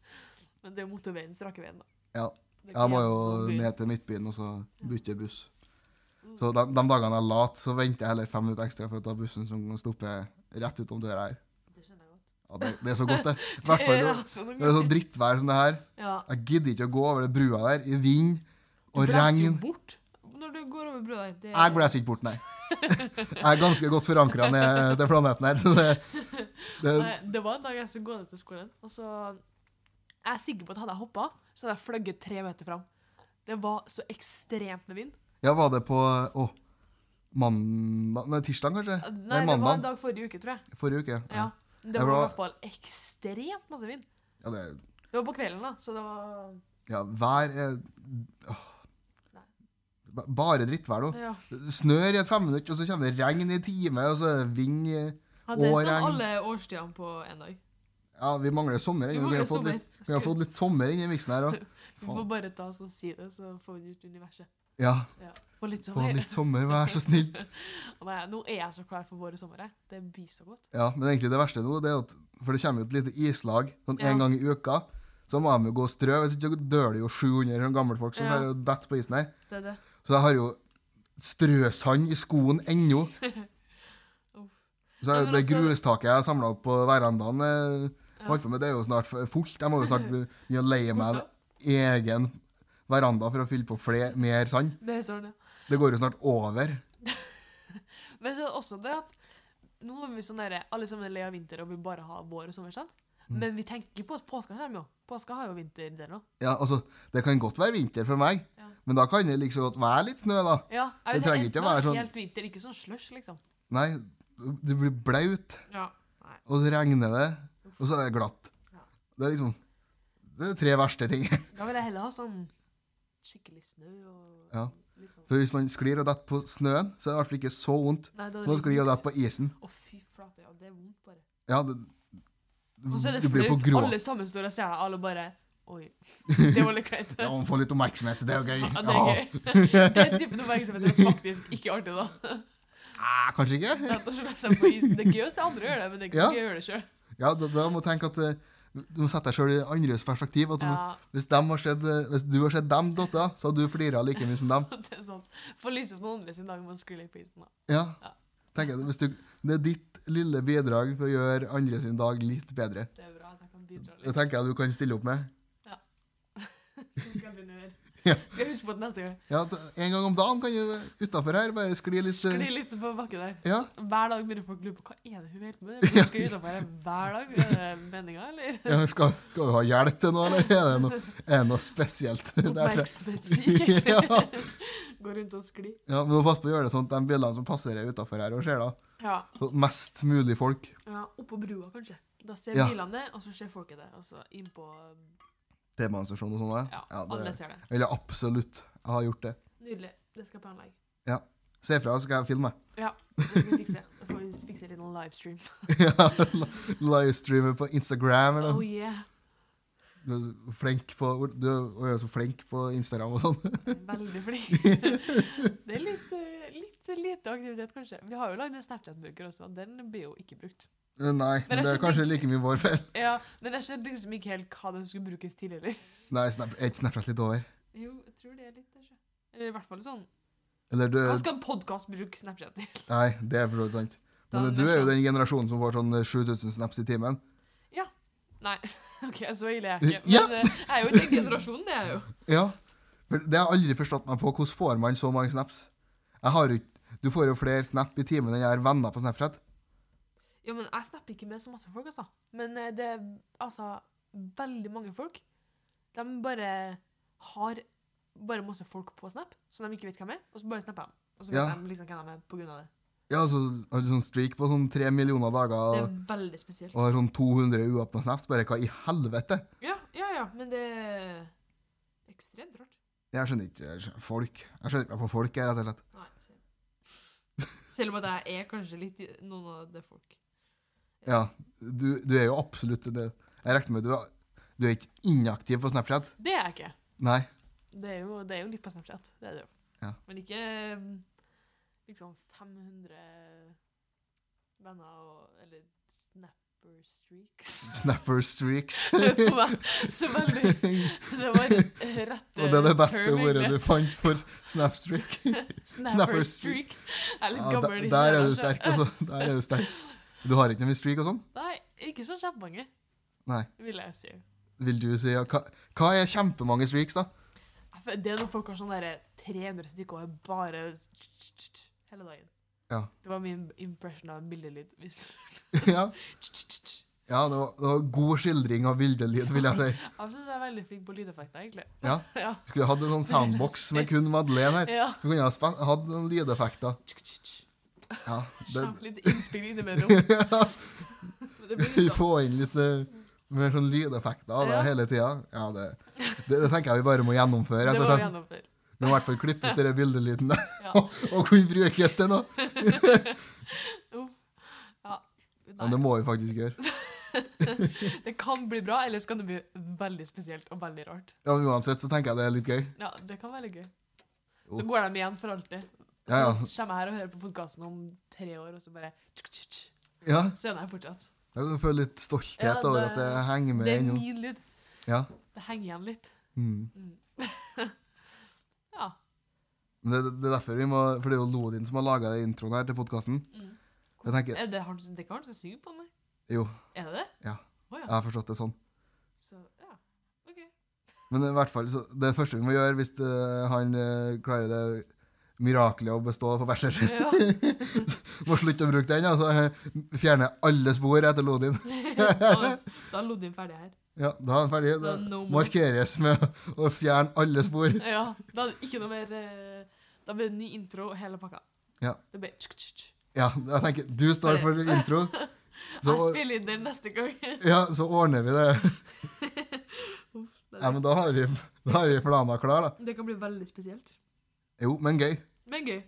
S2: Men det er jo motorveien, strakeveien, da.
S1: Ja.
S2: Det er ikke
S1: Jeg må jo
S2: gjennom byen.
S1: ned til Midtbyen og så bytte buss.
S2: Mm.
S1: Så de, de dagene jeg er lat, så venter jeg heller fem minutter ekstra for å ta bussen som stopper rett utom døra her.
S2: Det skjønner jeg godt.
S1: Ja, det, det er så godt, det. I hvert fall
S2: Det er
S1: når
S2: altså noen
S1: når det er sånn
S2: ganger.
S1: drittvær som det her.
S2: Ja.
S1: Jeg gidder ikke å gå over det brua der i vind
S2: Du
S1: og
S2: blåser jo
S1: regn.
S2: bort når du går over brua der. Det-
S1: Jeg blæser ikke bort, nei. Jeg er ganske godt forankra ned til planeten her. Så det, det,
S2: Nei, det var en dag jeg skulle gå ned til skolen, og så Jeg er sikker på at hadde jeg hoppa, så hadde jeg fløyet tre meter fram. Det var så ekstremt med vind. Eh,
S1: ja, var det på å, mandag Nei, tirsdag, kanskje?
S2: Nei,
S1: Nei,
S2: det var en
S1: mandag.
S2: dag forrige uke, tror jeg.
S1: Forrige uke.
S2: Ja.
S1: Ja.
S2: Det
S1: Jeg
S2: var i
S1: var-
S2: hvert fall ekstremt masse vind.
S1: Ja, det,
S2: Det var på kvelden, da, så det var
S1: ja vær er åh.
S2: Nei.
S1: Ba- Bare drittvær nå.
S2: Ja.
S1: Snør i et femminutt, og så kommer det regn i en time, og så er det vind i
S2: Ja, det er
S1: Og regn.
S2: sånn alle årstidene på en dag.
S1: Ja, vi mangler sommer.
S2: Vi
S1: ennå. Vi
S2: mangler
S1: har fått
S2: sommer.
S1: litt, vi har fått litt sommer inn i miksen her òg.
S2: Vi får bare ta oss og si det, så får vi ut universet.
S1: Ja,
S2: Ja. Få litt
S1: få
S2: sommer.
S1: litt sommer, vær så snill.
S2: Nei, nå er jeg så klar for vår sommer. jeg. Det blir så godt.
S1: Ja, men egentlig det verste nå, det er jo at For det kommer jo et lite islag sånn
S2: Ja.
S1: en gang i uka. Så må de jo gå og strø. Hvis ikke så dør det jo 700 sånne gamle folk som
S2: Ja.
S1: ja. detter på isen her.
S2: Det er det.
S1: Så jeg har jo strøsand i skoen ennå.
S2: Uff.
S1: Så er
S2: Ja,
S1: jo
S2: men
S1: det
S2: altså-
S1: grustaket jeg har samla opp på verandaen, eh,
S2: Ja.
S1: holdt på med, det er jo snart f- fullt. Jeg må jo snart begynne å leie meg
S2: Kos
S1: en egen veranda for å fylle på flere, mer sand.
S2: Det er sånn, ja.
S1: Det går jo snart over.
S2: Men så er det også det at nå er vi sånn der, alle sammen er lei av vinter og vil bare ha vår og sommer. sant?
S1: Mm.
S2: Men vi tenker ikke på at påska kommer jo. Påska har jo vinterdelen òg.
S1: Ja, altså, det kan godt være vinter for meg,
S2: Ja.
S1: men da kan det liksom godt være litt snø, da.
S2: Ja,
S1: Det
S2: jeg vil
S1: trenger ikke å
S2: enten
S1: være
S2: ha
S1: sånn-
S2: Helt vinter, ikke sånn slush, liksom.
S1: Nei, du blir blaut.
S2: Ja.
S1: og så regner det, og så er det glatt.
S2: Ja.
S1: Det er liksom det er tre verste ting.
S2: Da vil jeg heller ha sånn skikkelig snø og
S1: Ja.
S2: litt sånn.
S1: For hvis man sklir og detter på snøen, så er det i hvert fall ikke så vondt.
S2: Nei, da er
S1: Nå
S2: det
S1: sklir og
S2: litt-
S1: detter på isen.
S2: Å, fy flate, ja, det er vondt, bare.
S1: Ja, det,
S2: Og så er
S1: Mm,
S2: det
S1: du blir på
S2: flaut.
S1: grå.
S2: Alle sammen står og ser deg, alle bare Oi. Det var litt kleint.
S1: Ja, man får litt oppmerksomhet. Det er jo gøy.
S2: Ja, det er gøy. Den typen oppmerksomhet er faktisk ikke artig, da.
S1: Ah, kanskje ikke?
S2: At å slå seg på isen. Det er gøy å se andre gjøre det, men det er ikke
S1: Ja.
S2: gøy å gjøre det sjøl.
S1: Ja, da, da må du tenke at eh, du må sette deg sjøl i andres perspektiv. At du,
S2: Ja,
S1: hvis, dem har sett, eh, hvis du har sett dem dotte, så har du flira like mye som dem.
S2: det er sant. Få lyse opp noen andre sin dag med å skru litt på isen, da.
S1: Ja.
S2: Ja.
S1: Tenk at hvis du, det er ditt lille bidrag for å gjøre andre sin dag litt bedre.
S2: Det er bra at jeg kan bidra
S1: Det
S2: litt.
S1: tenker jeg du kan stille opp med.
S2: Det skal jeg begynne å gjøre.
S1: Ja.
S2: Skal jeg huske på det neste gang.
S1: Ja, at En gang om dagen kan du utafor her bare skli litt eh,
S2: Skli litt på bakken der.
S1: Ja.
S2: Hver dag begynner folk å lure på hva er det hun holder på med. Hun sklir utenfor her hver dag. Er det meninga, eller?
S1: ja, skal, skal du ha hjelp til noe, eller er det noe, er det noe spesielt? Der,
S2: Oppmerksomhetssyk, egentlig.
S1: ja.
S2: Går rundt og sklir.
S1: ja, men Pass på å gjøre det sånn at de bilene som passerer utafor her, og ser da,
S2: Ja.
S1: så mest mulig folk.
S2: Ja, Oppå brua, kanskje. Da ser
S1: Ja.
S2: bilene det, og så ser folket det. Og så innpå
S1: T-banestasjon og sånn.
S2: Ja,
S1: Ja,
S2: alle
S1: det,
S2: ser det.
S1: eller absolutt. Jeg har gjort det.
S2: Nydelig. Det skal jeg planlegge.
S1: Ja. Si ifra, så skal jeg filme.
S2: Ja, det skal vi fikse. Da får vi fikse litt livestream.
S1: Ja, li- Livestreame på Instagram eller
S2: Oh
S1: noe.
S2: yeah.
S1: Du er flink på, du er jo så flink på Instagram og sånn.
S2: Jeg er Veldig flink. Det er litt, eh, litt lite aktivitet, kanskje. Vi har jo lagd en Snapchat-burger også, og den blir jo ikke brukt.
S1: Eh, Nei,
S2: Men
S1: men
S2: jeg
S1: det er kanskje
S2: skjønner-
S1: like mye vår feil.
S2: Ja, Men jeg skjønte liksom ikke helt hva den skulle brukes til, eller.
S1: Nei, snap, er ikke Snapchat litt over?
S2: Jo, jeg tror det er litt kanskje. Eller i hvert fall sånn.
S1: Eller du
S2: Hva skal en podkast bruke Snapchat til?
S1: Nei, det er for så vidt sant.
S2: Da
S1: Men eh,
S2: er
S1: du
S2: det
S1: er jo
S2: sånn-
S1: den generasjonen som får sånn eh, 7000 snaps i timen.
S2: Nei, OK, så ille er jeg ikke.
S1: Ja.
S2: Men eh, jeg er jo ikke den generasjonen, det er jeg jo.
S1: Ja. For det har jeg aldri forstått meg på. Hvordan får man så mange snaps? Jeg har jo ikke Du får jo flere snap i timen enn jeg har venner på Snapchat.
S2: Ja, men jeg snapper ikke med så masse folk, altså. Men eh, det er altså veldig mange folk. De bare har bare masse folk på Snap som de ikke vet hvem er, og så bare snapper de. Og så vet
S1: Ja.
S2: de liksom hvem de er på grunn av det.
S1: Ja, så har du sånn streak på sånn tre millioner
S2: Det
S1: dager
S2: er
S1: og,
S2: veldig spesielt.
S1: og har sånn 200 uåpna snaps. Bare hva i helvete?
S2: Ja, ja, ja, men det er ekstremt rart.
S1: Jeg skjønner ikke jeg skjønner, folk. Jeg skjønner ikke meg på folk, jeg, rett og slett.
S2: Nei, selv. selv om at jeg er kanskje litt i- noen av det folk.
S1: Ja, du, du er jo absolutt det. Jeg regner med du er, du er ikke inaktiv på Snapchat?
S2: Det er jeg ikke.
S1: Nei.
S2: Det er jo, det er jo litt på Snapchat. Det er det jo.
S1: Ja.
S2: Men ikke mm, liksom 500 venner og Eller snapper streaks.
S1: Snapper streaks.
S2: For meg, så veldig Det var rette
S1: Og det er det beste
S2: term,
S1: ordet
S2: egentlig.
S1: du fant for snapstreak.
S2: Snapper
S1: snapper
S2: streak. Jeg er litt
S1: Ja,
S2: gammel.
S1: der, der
S2: ikke sant,
S1: er du
S2: kanskje?
S1: sterk, altså. Der er du sterk. Du har ikke noe med streak og sånn?
S2: Nei, ikke så kjempemange,
S1: Nei.
S2: vil jeg si.
S1: Vil du si ja, hva, hva er kjempemange streaks, da?
S2: Jeg føler- Det er når folk har sånn derre 300 stykker og er bare s- t- t- t- t- hele dagen.
S1: Ja.
S2: Det var min impression av bildelyd. Hvis
S1: ja,
S2: t- t- t- t.
S1: ja det, var, det var god skildring av bildelyd, vil jeg si.
S2: Jeg syns jeg er veldig flink på lydeffekter, egentlig.
S1: Ja.
S2: ja.
S1: Skulle hatt en sånn soundbox med kun Madeleine her.
S2: ja.
S1: Så kunne jeg ha spe- hatt noen lydeffekter. Ja, det,
S2: Kjempe litt innspill innimellom. Men det blir
S1: Vi
S2: litt sånn.
S1: får inn litt eh, mer sånn lydeffekter av det
S2: Ja.
S1: hele tida. Ja, det, det, det tenker jeg vi bare må gjennomføre. rett
S2: sånn. Det
S1: og
S2: var
S1: slett.
S2: gjennomført.
S1: Vi må i hvert fall klippe ut den bildelyden der
S2: Ja.
S1: og, og kunne brukes til noe.
S2: Uff. Ja.
S1: Men det
S2: Nei.
S1: må vi faktisk gjøre.
S2: Det kan bli bra, eller så kan det bli veldig spesielt og veldig rart.
S1: Ja, men Uansett så tenker jeg det er litt gøy.
S2: Ja, det kan være litt gøy. Så
S1: Jo.
S2: går de igjen for alltid. Så
S1: Ja, ja.
S2: kommer jeg her og hører på podkasten om tre år, og så bare tsk, tsk, tsk.
S1: Ja,
S2: Så er den her fortsatt.
S1: Jeg kan føle litt
S2: Ja,
S1: stolthet
S2: det-
S1: over at jeg henger med
S2: Det er
S1: ennå.
S2: min lyd.
S1: Ja.
S2: Det henger igjen litt.
S1: Mm.
S2: Mm. ja.
S1: Men Det, det er derfor vi må, for det er jo Lodin som har laga introen her til podkasten.
S2: Mm.
S1: Jeg tenker,
S2: Er det, han, det er ikke han som synger på den? nei?
S1: jo,
S2: Er det det?
S1: Ja.
S2: Å
S1: jeg
S2: ja.
S1: har forstått det sånn.
S2: Så, ja. OK.
S1: Men i hvert fall, så det første vi må gjøre hvis eh, han eh, klarer det miraklet å bestå på bachelor
S2: Ja.
S1: Må slutte å bruke den, altså. Fjerne alle spor etter Lodin.
S2: da da er Lodin ferdig her.
S1: Ja, da er han ferdig.
S2: Da er
S1: Det
S2: no more.
S1: markeres med å fjerne alle spor.
S2: Ja, da er det ikke noe mer eh, Da blir det ny intro og hele pakka.
S1: Ja.
S2: Det blir tsk, tsk, tsk.
S1: Ja, jeg tenker, du står for intro, så,
S2: Jeg spiller inn den neste gang.
S1: ja, så ordner vi det.
S2: Uff, det,
S1: Ja, men da har vi, da har vi plana klar, da.
S2: det kan bli veldig spesielt.
S1: Jo, men gøy.
S2: Men gøy.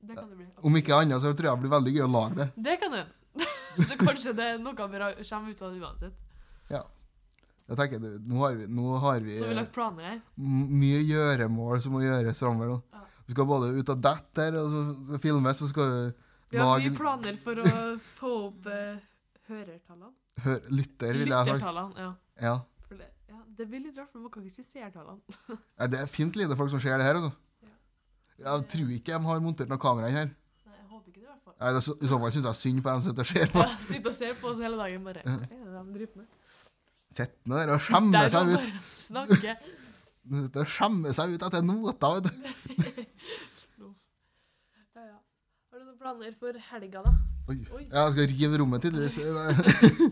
S2: Det kan det bli.
S1: Om ikke annet, så tror jeg det blir veldig gøy å lage det.
S2: Det kan det. Så kanskje det er noe bra kommer ut av det uansett.
S1: Jeg tenker, det- Nå har vi, nå har vi
S2: Nå har vi
S1: eh,
S2: lagt planer her.
S1: m- mye gjøremål som må gjøres framover nå.
S2: Ja.
S1: Du skal både ut av dette her, og så så filmes, så skal du
S2: Vi har
S1: lage
S2: mye planer for å få opp eh, hørertallene.
S1: hør, Lytter, vil jeg ha sagt.
S2: Lyttertallene, ja.
S1: Ja.
S2: For det, ja. Det blir litt rart, for man kan ikke si seertallene.
S1: Nei, det er fint lite folk som ser det her, altså.
S2: Ja.
S1: Jeg tror ikke de har montert noen kamera inn her.
S2: Nei, jeg håper ikke det, i hvert fall.
S1: Nei, det, er så- I så fall syns jeg synd på dem som sitter og ser på.
S2: Ja, Sitte og se på oss hele dagen, bare. Hva
S1: Ja.
S2: er det de driver med?
S1: Sitter nå der og skjemmer
S2: Der
S1: seg
S2: kan
S1: ut.
S2: bare snakke.
S1: De sitter og skjemmer seg ut etter noter, vet du.
S2: Ja, ja. Har du noen planer for helga, da?
S1: Oi.
S2: Oi.
S1: Ja, jeg skal rive rommet, tydeligvis.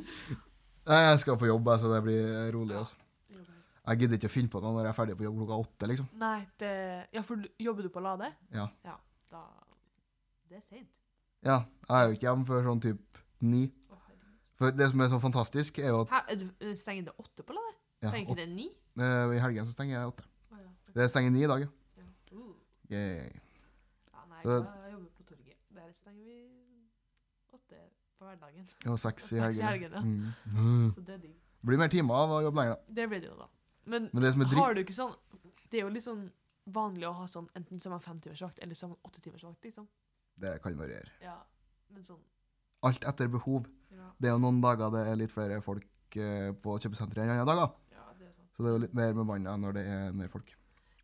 S1: Nei, jeg skal på jobb, jeg, så det blir rolig. Altså. Jeg gidder ikke å finne på noe når jeg er ferdig på jobb klokka åtte, liksom.
S2: Nei, det Ja, for du- jobber du på Lade?
S1: Ja.
S2: Da Det er seint.
S1: Ja, jeg er jo ikke hjemme før sånn typ ni.
S2: Å, herregud.
S1: For det som er så fantastisk, er jo at
S2: Hæ, er du- eh, Stenger det åtte på Lade?
S1: ja,
S2: Stenger ikke det ni?
S1: åt- eh, i helgen så stenger jeg åtte.
S2: Å, ja.
S1: Det stenger ni i dag, ja.
S2: Ja. Uh.
S1: Yay.
S2: Ja, nei, Nei,
S1: Så-
S2: jeg jobber på torget. Der stenger vi åtte på hverdagen.
S1: Og seks i
S2: Og seks i
S1: helgen. Mm.
S2: Så det er digg.
S1: Det blir mer timer av å jobbe lenger, da.
S2: Det blir det jo, da. Men
S1: Men det som er dritt
S2: har du ikke sånn Det er jo litt sånn vanlig å ha sånn enten så har man femtimersvakt eller så har man åttetimersvakt, liksom.
S1: Det kan variere.
S2: Ja, men sånn
S1: Alt etter behov.
S2: Ja,
S1: Det er jo noen dager det er litt flere folk eh, på kjøpesenteret enn andre dager.
S2: ja det er sånn.
S1: Så det er jo litt mer bemanna når det er mer folk.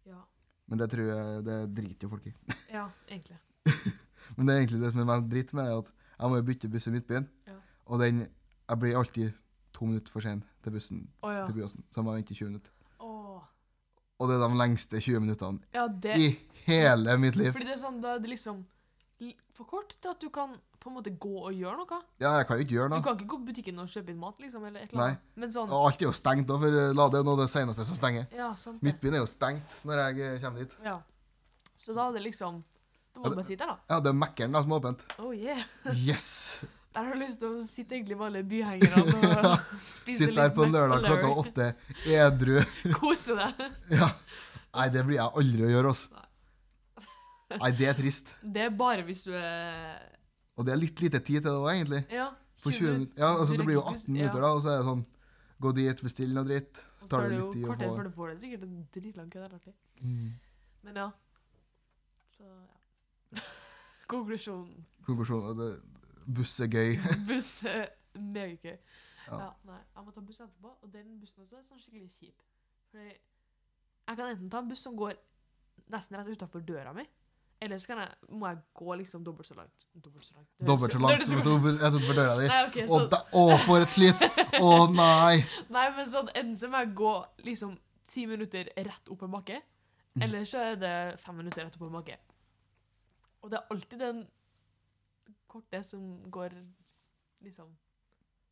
S2: Ja,
S1: Men det tror jeg det driter jo folk i.
S2: ja egentlig.
S1: Men det er egentlig det som er mest dritt med det, at jeg må jo bytte buss i Midtbyen.
S2: Ja.
S1: Og den Jeg blir alltid to minutter for sen til bussen
S2: Å ja.
S1: til Byåsen. Så jeg må vente 20 minutter.
S2: Åh.
S1: Og det er de lengste 20 minuttene
S2: Ja, det
S1: i hele mitt liv.
S2: Fordi det er sånn, da er det liksom li- for kort til at du kan på en måte gå og gjøre noe.
S1: Ja, jeg kan jo ikke gjøre
S2: Du
S1: noe.
S2: kan ikke gå på butikken og kjøpe inn mat, liksom, eller et eller annet. Men sånn
S1: Og alt er jo stengt òg, for eh, Lade er jo noe av det seneste som stenger.
S2: Ja, sant det.
S1: Midtbyen er jo stengt når jeg eh, kommer dit.
S2: Ja. Så da er det liksom Da må
S1: Ja,
S2: du
S1: det-
S2: bare sitte der, da.
S1: Ja, det er Mækkern da som er åpent.
S2: Oh yeah.
S1: Yes!
S2: Der har du lyst til å sitte egentlig med alle byhengerne og spise
S1: Sitte
S2: litt
S1: her på en lørdag
S2: McFlurry.
S1: klokka åtte, edru.
S2: Kose deg.
S1: Ja. Nei, det blir jeg aldri å gjøre, altså. Nei, det er trist.
S2: Det er bare hvis du er
S1: Og det er litt lite tid til det òg, egentlig.
S2: Ja.
S1: For 20 minutter. Ja, altså det blir jo 18 minutter, da, og så er det sånn Gå dit, bestill noe dritt. Så tar det litt tid å
S2: kvarter
S1: få
S2: før du får det. Sikkert en dritlang kø. Det er artig.
S1: Mm.
S2: Men ja. Så ja. Konklusjonen.
S1: konklusjonen. at det- Buss er gøy.
S2: Buss er megagøy.
S1: Ja.
S2: Ja. nei. Jeg må ta buss etterpå, og den bussen også er sånn skikkelig kjip. Fordi jeg kan enten ta en buss som går nesten rett utafor døra mi, eller så kan jeg, må jeg gå liksom dobbelt så langt. Dobbelt så langt. Det
S1: Dobbelt så
S2: høres jo-
S1: langt
S2: det høres
S1: som
S2: jo-
S1: det sto rett utenfor døra di.
S2: Nei, ok,
S1: Å,
S2: så,
S1: da- å, for et slit! Å nei!
S2: Nei, men sånn, enten så må jeg gå liksom ti minutter rett opp en bakke,
S1: Mm.
S2: eller så er det fem minutter rett opp en bakke. Og det er alltid den korte som går s- liksom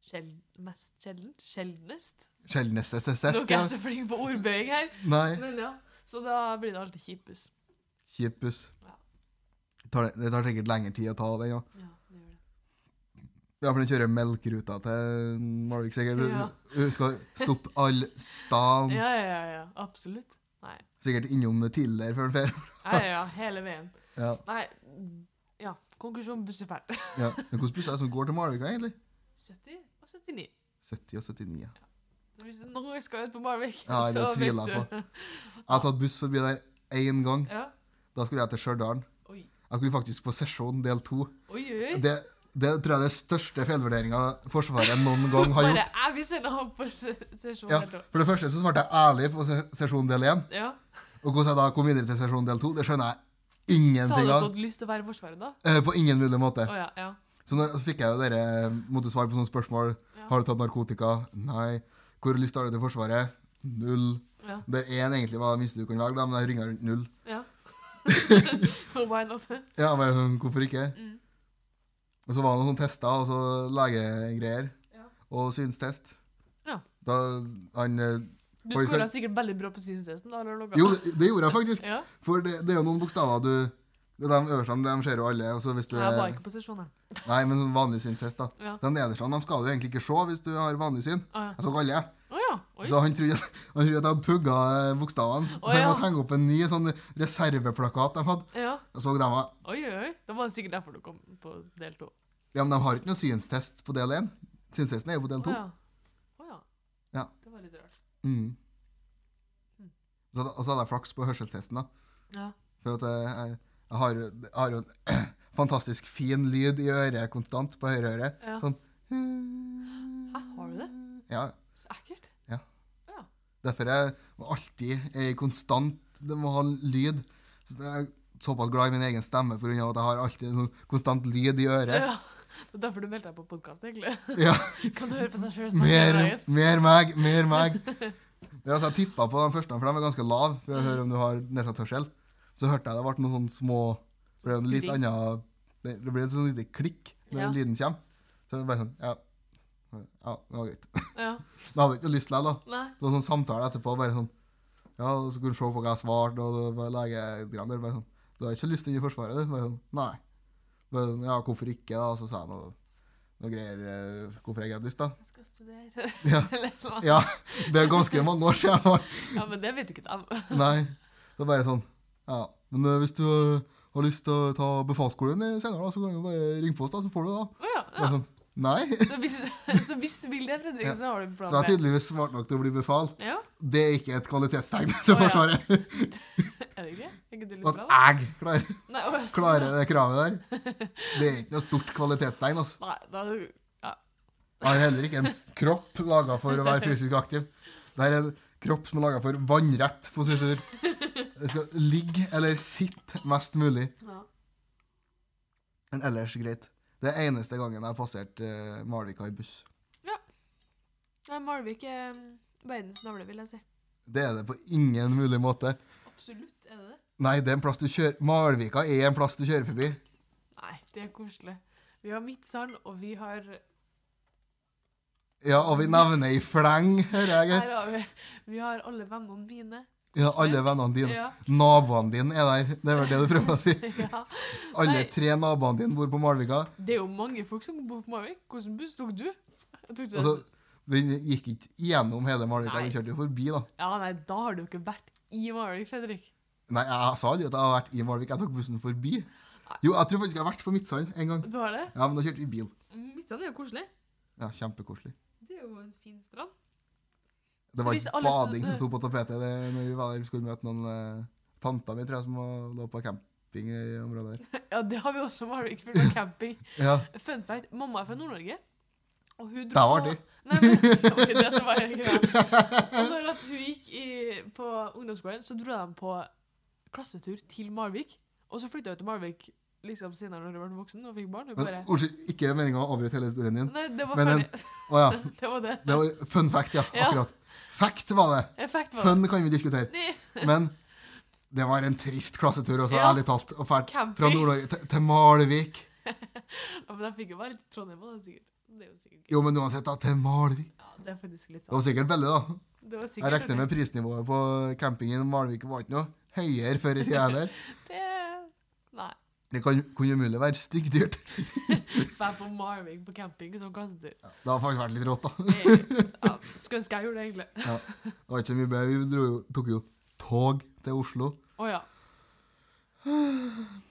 S2: sjel mest sjeldent, sjeldnest.
S1: Sjeldnest
S2: Nå er
S1: SSS.
S2: ikke
S1: Ja.
S2: jeg så flink på ordbøying her,
S1: Nei.
S2: men ja. Så da blir det alltid kjip buss.
S1: Kjip buss.
S2: Ja.
S1: Tar Det det tar sikkert lengre tid å ta den, ja.
S2: Ja, det gjør det.
S1: Ja, for den kjører melkeruta til Malvik, sikkert.
S2: Ja.
S1: Hun skal stoppe all stan.
S2: Ja, ja, ja, ja, absolutt. Nei,
S1: Sikkert innom tidligere før den fer.
S2: ja, ja, ja, hele veien.
S1: Ja.
S2: Nei, ja, konklusjon buss er ferdig.
S1: ja. Men hvilke busser er det som går til Malvik, egentlig?
S2: 70 og 79.
S1: 70 og 79, ja.
S2: Så Hvis du noen gang skal ut på Marvik,
S1: Ja, det
S2: så vet
S1: tviler jeg
S2: du.
S1: Jeg har tatt buss forbi der én gang.
S2: Ja.
S1: Da skulle jeg til Stjørdal.
S2: Oi.
S1: Jeg skulle faktisk på sesjon del to.
S2: Oi, oi, oi.
S1: Det, det tror jeg er den største feilvurderinga Forsvaret noen gang har
S2: Bare
S1: gjort.
S2: jeg vil sende ham på se- sesjon.
S1: Ja,
S2: eller noe.
S1: for det første så svarte jeg ærlig på se- sesjon del én.
S2: ja.
S1: Og hvordan jeg da kom videre til sesjon del to, det skjønner jeg
S2: Sa du
S1: ingenting
S2: at du
S1: av.
S2: hadde lyst til å være i Forsvaret da?
S1: Eh, På ingen mulig måte.
S2: Å ja, ja.
S1: Så, når, så fikk jeg jo dere måtte svare på sånne spørsmål.
S2: Ja.
S1: Har du tatt narkotika? Nei. Hvor lyst har du til Forsvaret? Null.
S2: Ja.
S1: Der én egentlig var det minste du kunne lage, da, men jeg ringa rundt null.
S2: ja. Og Why not?
S1: Ja, jeg bare sånn, hvorfor ikke?
S2: Mm.
S1: Og så var det noen sånne tester, og så legegreier.
S2: Ja.
S1: Og synstest.
S2: Ja.
S1: Da han eh,
S2: Du
S1: Oi,
S2: skåra
S1: kan-
S2: sikkert veldig bra på synstesten. da, eller noe?
S1: Jo, det, det gjorde jeg faktisk.
S2: Ja.
S1: For det, det er jo noen bokstaver du det er De øverste de ser jo alle. og så hvis du
S2: Jeg var ikke på sesjon, jeg.
S1: Nei, men sånn vanlig synstest, da.
S2: Ja.
S1: De nederste de skal du egentlig ikke se hvis du har vanlig syn.
S2: Å ja.
S1: Jeg så alle.
S2: Å ja. Oi.
S1: Så han trodde, at, han trodde at jeg hadde pugga eh, bokstavene.
S2: Å,
S1: så jeg
S2: ja.
S1: måtte henge opp en ny sånn reserveplakat de hadde.
S2: Ja.
S1: Jeg så dem var
S2: Oi, oi, oi. Da var det sikkert derfor du kom på del to.
S1: Ja, men de har ikke noen synstest på del én. Synstesten er jo på del
S2: Å
S1: to.
S2: ja. Å ja.
S1: Ja.
S2: Det var litt rart.
S1: Mm. Så, hadde- og så hadde jeg flaks på hørselstesten, da.
S2: Ja.
S1: For at jeg, jeg, jeg, har, jo- jeg har jo en fantastisk fin lyd i øret konstant, på høyre øre.
S2: Ja.
S1: Sånn
S2: Hæ, har du det?
S1: Ja.
S2: Så ekkelt.
S1: Derfor jeg må alltid er konstant Det må ha lyd. Så jeg er såpass glad i min egen stemme pga. at jeg har alltid en sånn konstant lyd i øret.
S2: Ja. Det er derfor du meldte deg på podkast, egentlig.
S1: Ja,
S2: Kan du høre på seg sjøl snakke
S1: mer,
S2: hele dagen?
S1: mer meg, mer meg. Ja, så jeg tippa på de første, for de er ganske lave, for å høre om du har nedsatt hørsel. Så hørte jeg det ble noen sånne små For det er jo en litt
S2: Skurring.
S1: annen Det det blir et sånn lite klikk når
S2: Ja.
S1: lyden kommer. Så det er bare sånn Ja, ja det var greit.
S2: Ja.
S1: Men jeg hadde ikke noe lyst til det, da.
S2: Nei.
S1: Det var sånn samtale etterpå, bare sånn Ja, og så kunne du se på hva jeg svarte, og det var legegreier. Bare sånn Du har ikke lyst inn i Forsvaret, du? Bare sånn Nei. Bare sånn, ja, hvorfor ikke, da? Og så sa jeg noe, noe greier eh, Hvorfor jeg ikke hadde lyst, da.
S2: Jeg skal studere.
S1: Ja.
S2: Eller et eller annet.
S1: Ja, det er ganske mange år siden. jeg var-
S2: Ja, men det vet ikke de.
S1: Nei. Det er bare sånn Ja, men eh, hvis du eh, har lyst til å ta befalsskolen senere, da, så kan du bare ringe på oss, da, så får du det. da.
S2: Å ja,
S1: Og
S2: ja.
S1: Sånn, nei.
S2: Så, hvis, så hvis du vil det, Fredrik,
S1: Ja.
S2: så har du en
S1: Så jeg
S2: plan
S1: er
S2: B.
S1: tydeligvis smart nok til å bli befal.
S2: Ja,
S1: Det er ikke et kvalitetstegn til
S2: Å, ja.
S1: Forsvaret.
S2: er det ikke? Er ikke det litt
S1: At
S2: bra, da?
S1: jeg klarer,
S2: Nei, å, ja, sånn,
S1: klarer det kravet der, det er ikke noe stort kvalitetstegn. altså.
S2: ja. Nei, da,
S1: Jeg har heller ikke en kropp laga for å være fysisk aktiv. Det her er en kropp som er laga for vannrett posisjoner. Det skal ligge eller sitte mest mulig,
S2: ja.
S1: men ellers greit. Det er eneste gangen jeg har passert eh, Malvika i buss.
S2: Nei, Malvik er mm, verdens navle, vil jeg si.
S1: Det er det på ingen mulig måte.
S2: Absolutt, er det det?
S1: Nei, det er en plass du kjører Malvika er en plass du kjører forbi.
S2: Nei, det er koselig. Vi har Midtsand, og vi har
S1: Ja, og vi nevner i fleng, hører jeg.
S2: Her har vi, vi har alle vennene mine.
S1: Ja, alle vennene dine.
S2: Ja.
S1: Naboene dine er der. Det er vel det du prøver å si.
S2: ja.
S1: Alle
S2: Nei.
S1: tre naboene dine bor på Malvika.
S2: Det er jo mange folk som bor på Malvik. Hvilken buss tok du? Jeg tok ikke
S1: Altså,
S2: den.
S1: vi gikk ikke gjennom hele Malvika,
S2: Nei.
S1: vi kjørte jo forbi, da.
S2: ja, nei, da har du jo ikke vært i Malvik, Fredrik.
S1: Nei, jeg sa aldri at jeg har vært i Malvik. Jeg tok bussen forbi. Jo, jeg tror faktisk jeg har vært på Midtsand en gang.
S2: Du har det?
S1: Ja, men da kjørte vi bil.
S2: Midtsand er jo koselig.
S1: Ja, Kjempekoselig.
S2: Det er jo en fin strand.
S1: Det
S2: Så
S1: var
S2: hvis
S1: ikke
S2: alle som-
S1: bading som sto på tapetet det, når vi var der. Vi skulle møte noen eh, tanta mi, tror jeg, som var- lå på camping i området der.
S2: Ja, det har vi også i Malvik, for det var camping.
S1: Ja,
S2: Fun fact, mamma er fra Nord-Norge. Og hun
S1: Det var
S2: på-
S1: artig.
S2: Nei, men, det var det som var greia. Og når at hun gikk i, på ungdomsskolen, så dro de på klassetur til Malvik. Og så flytta hun til Malvik liksom senere når hun ble voksen og fikk barn. Hun
S1: men
S2: bare,
S1: Unnskyld, ikke meninga å avbryte hele historien din.
S2: nei, det var
S1: men en-
S2: ferdig.
S1: Å ja.
S2: Det var det.
S1: Det var fun fact, ja.
S2: Ja.
S1: Akkurat. Fact var det.
S2: Effekt var det.
S1: Fun kan vi diskutere.
S2: Nei,
S1: Men det var en trist klassetur også,
S2: Ja.
S1: ærlig talt. Og fælt. Fra
S2: camping.
S1: Nord-Norge til, til Malvik.
S2: Ja, men de fikk jo være litt i Trondheim òg, sikkert. Det er jo sikkert gøy.
S1: Jo, men uansett, da. Til Malvik.
S2: Ja, det er faktisk litt
S1: Det var
S2: sånn.
S1: sikkert veldig, da.
S2: Det var sikkert
S1: Jeg regner med prisnivået på campingen i Malvik var ikke noe høyere før i tida heller.
S2: det. Nei.
S1: Det kan, kunne umulig være styggdyrt.
S2: Vær på Malvik på camping som klassetur.
S1: Det har faktisk vært litt rått, da.
S2: Det er- Ja, skulle ønske jeg gjorde det, egentlig.
S1: Det var ikke så mye bedre. Vi dro jo, tok jo tog til Oslo.
S2: Å ja.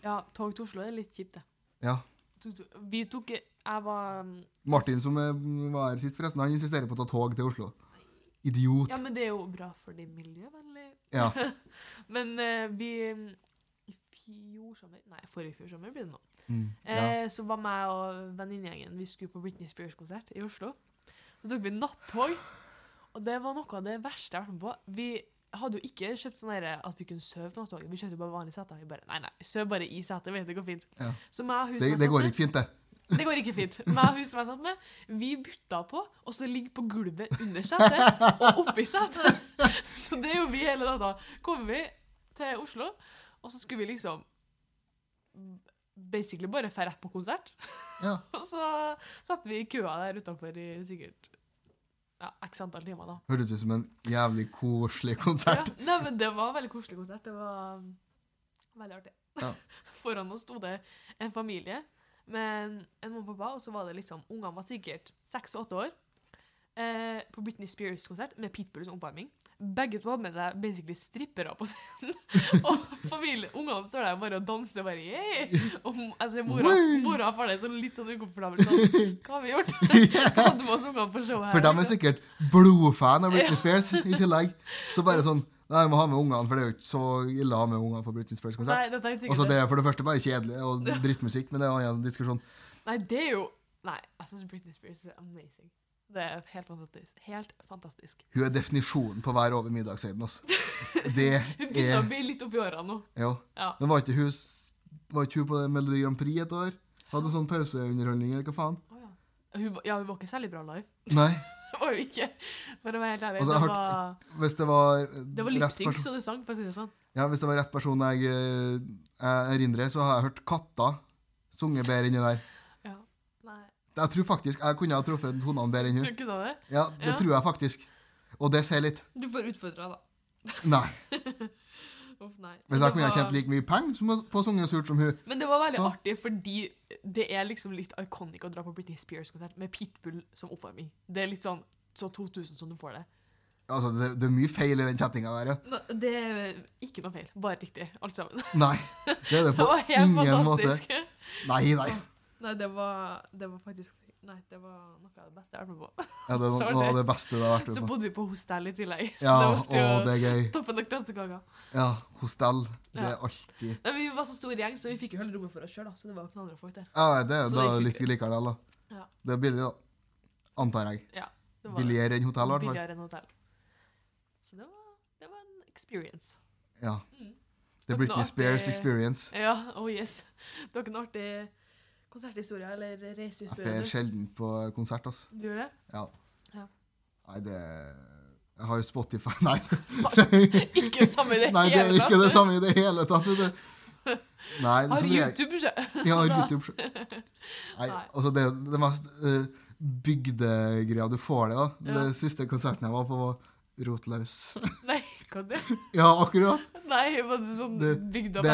S2: Ja, tog til Oslo er litt kjipt, det.
S1: Ja.
S2: Du- du- Vi tok Jeg var
S1: Martin, som eh, var her sist, forresten, han insisterer på å ta tog til Oslo. Idiot.
S2: Ja, men det er jo bra for det miljøvennlige.
S1: Ja.
S2: Men eh, vi mm, I fjor sommer Nei, forrige fjor sommer blir det nå.
S1: Mm. ja.
S2: Eh, så var meg og venninnegjengen Vi skulle på Britney Spears-konsert i Oslo. Så tok vi nattog, og det var noe av det verste jeg har vært med på. Vi hadde jo ikke kjøpt sånn derre at vi kunne sove på nattoget. Vi kjøpte jo bare vanlige seter. Vi bare Nei, nei, sov bare i setet. vet Det går fint.
S1: Ja.
S2: Så meg og hun som
S1: Det,
S2: jeg
S1: det
S2: satt med-
S1: går ikke fint, det.
S2: Det går ikke fint. Meg og hun som jeg satt med, vi bytta på, og så ligger på gulvet under setet og oppi setet. Så det gjorde vi hele natta. Kom vi til Oslo, og så skulle vi liksom basically bare dra rett på konsert.
S1: Ja.
S2: Og så satt vi i køa der utenfor i sikkert ja, x antall timer, da.
S1: Hørtes ut som en jævlig koselig
S2: Ja,
S1: konsert.
S2: nei, men det var en veldig koselig konsert. Det var um, veldig artig.
S1: Ja.
S2: Foran oss sto det en familie med en mamma og pappa, og så var det liksom Ungene var sikkert seks og åtte år. Eh, på Britney Spears-konsert med Pitbull som oppvarming. Begge to hadde med seg basically strippere på scenen. og familie, ungene står der bare og danser. bare, yeah! Og m- altså, mora,
S1: Woo!
S2: mora og faren er sånn litt sånn ukomfortabel. Sånn, Hva har vi gjort? Tatt med oss ungene på showet her.
S1: For dem er
S2: liksom.
S1: sikkert blodfan av Britney Spears i tillegg. Så bare sånn Nei, vi må ha med ungene, for det er jo ikke så ille å ha med ungene på Britney Spears-konsert.
S2: Nei, dette er ikke
S1: Og så
S2: sikkert
S1: det er for det første bare kjedelig og drittmusikk, men det er en annen diskusjon.
S2: Nei, det er jo Nei, jeg syns Britney Spears er amazing. Det er helt fantastisk. Helt fantastisk.
S1: Hun er definisjonen på hver over middagshøyden, altså. Det
S2: Hun begynner å
S1: er
S2: bli litt oppi åra nå.
S1: Jo.
S2: Ja.
S1: Men var ikke hun s- Var ikke hun på Melodi Grand Prix et år? Hadde sånn pauseunderholdning, eller hva faen?
S2: Å ja. Hun, var- ja, hun var ikke særlig bra live.
S1: Nei.
S2: Det var hun ikke. For å være helt ærlig.
S1: Altså, jeg
S2: det,
S1: har-
S2: var,
S1: Hvis det var
S2: det var
S1: rett
S2: lipsync,
S1: person-
S2: så det sang, for å si det sånn.
S1: Ja, hvis det var rett person jeg eh, jeg erindrer, så har jeg hørt katter sunge bedre enn det der.
S2: Ja. Nei,
S1: Jeg tror faktisk jeg kunne ha truffet tonene bedre enn
S2: du
S1: hun.
S2: kunne det?
S1: Ja, det
S2: Ja.
S1: tror jeg faktisk. Og det sier litt.
S2: Du får utfordra, da.
S1: Nei.
S2: Uff, nei. Men
S1: Hvis
S2: det
S1: jeg kunne ha
S2: var-
S1: tjent like mye penger som å- på å synge surt som hun
S2: Men det var veldig
S1: Så-
S2: artig, fordi det er liksom litt iconic å dra på Britney Spears-konsert med Pitbull som oppvarming. Det er litt sånn så 2000 som du får det.
S1: Altså, det, det er mye feil i den chattinga der, ja.
S2: Nå, Det er ikke noe feil. Bare riktig, alt sammen.
S1: Nei, det er det
S2: Det
S1: på
S2: var helt
S1: ingen
S2: fantastisk.
S1: måte. Nei, nei.
S2: Nei, det var, det var faktisk Nei, det var noe av det beste jeg har vært med på.
S1: Ja, det er
S2: Sorry.
S1: noe av det beste du har vært med
S2: Så
S1: på.
S2: bodde vi på hostell i tillegg. Så
S1: Ja,
S2: det ble
S1: å,
S2: jo
S1: det er gøy.
S2: toppen av kransekaka.
S1: Ja, hostell. Det
S2: Ja.
S1: er alltid
S2: Men vi var så stor gjeng, så vi fikk jo hele rommet for oss sjøl, så det var jo ikke noen andre folk der.
S1: Ja, nei, det er
S2: Så
S1: da
S2: det gikk
S1: litt likevel, da.
S2: Ja.
S1: Det er billig, da. Antar jeg.
S2: Det var
S1: Billigere enn hotell, i hvert fall.
S2: billigere enn hotell. Så det var, det var en experience.
S1: Ja. Det
S2: Mm. Dere
S1: er Britney
S2: nå
S1: Spears
S2: alltid-
S1: experience.
S2: Ja, oh yes. Du har ikke noen artig konserthistorie eller
S1: Jeg
S2: reisehistorie?
S1: fer
S2: du?
S1: sjelden på konsert, altså.
S2: Du gjør det?
S1: Ja.
S2: Ja.
S1: Nei, det Jeg har Spotify Nei.
S2: Ikke samme i det
S1: Nei, det er
S2: hele
S1: ikke det samme i det hele tatt. vet du. Nei, det
S2: Har
S1: som jeg,
S2: YouTube sjø?
S1: jeg har
S2: da?
S1: YouTube sjøl. Nei,
S2: Nei.
S1: altså det, det mest eh, bygdegreia du får det, da.
S2: Ja.
S1: Det siste konserten jeg var på, var Rotlaus.
S2: Nei, hva det?
S1: ja, akkurat.
S2: Nei, var det sånn
S1: Det- det er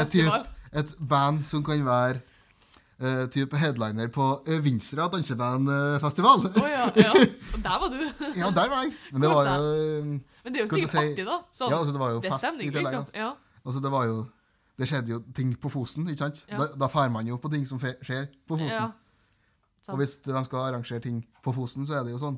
S1: typ-
S2: bygdafestival?
S1: Et band som kan være eh, type headliner på eh, Vinstra dansebandfestival.
S2: Å ja, ja. Og der var du.
S1: ja, der var jeg. Men det
S2: Kos
S1: var jo eh,
S2: Men det er jo
S1: Kan du
S2: sikkert
S1: si-
S2: artig, da. Sånn,
S1: Ja, altså det var jo
S2: det er
S1: fest i
S2: stemning,
S1: tillegg. da.
S2: liksom. Ja.
S1: Altså, det var jo Det skjedde jo ting på Fosen, ikke sant?
S2: Ja.
S1: Da, da fær man jo på ting som fe skjer på Fosen.
S2: ja.
S1: Og hvis de skal arrangere ting på Fosen, så er det jo sånn.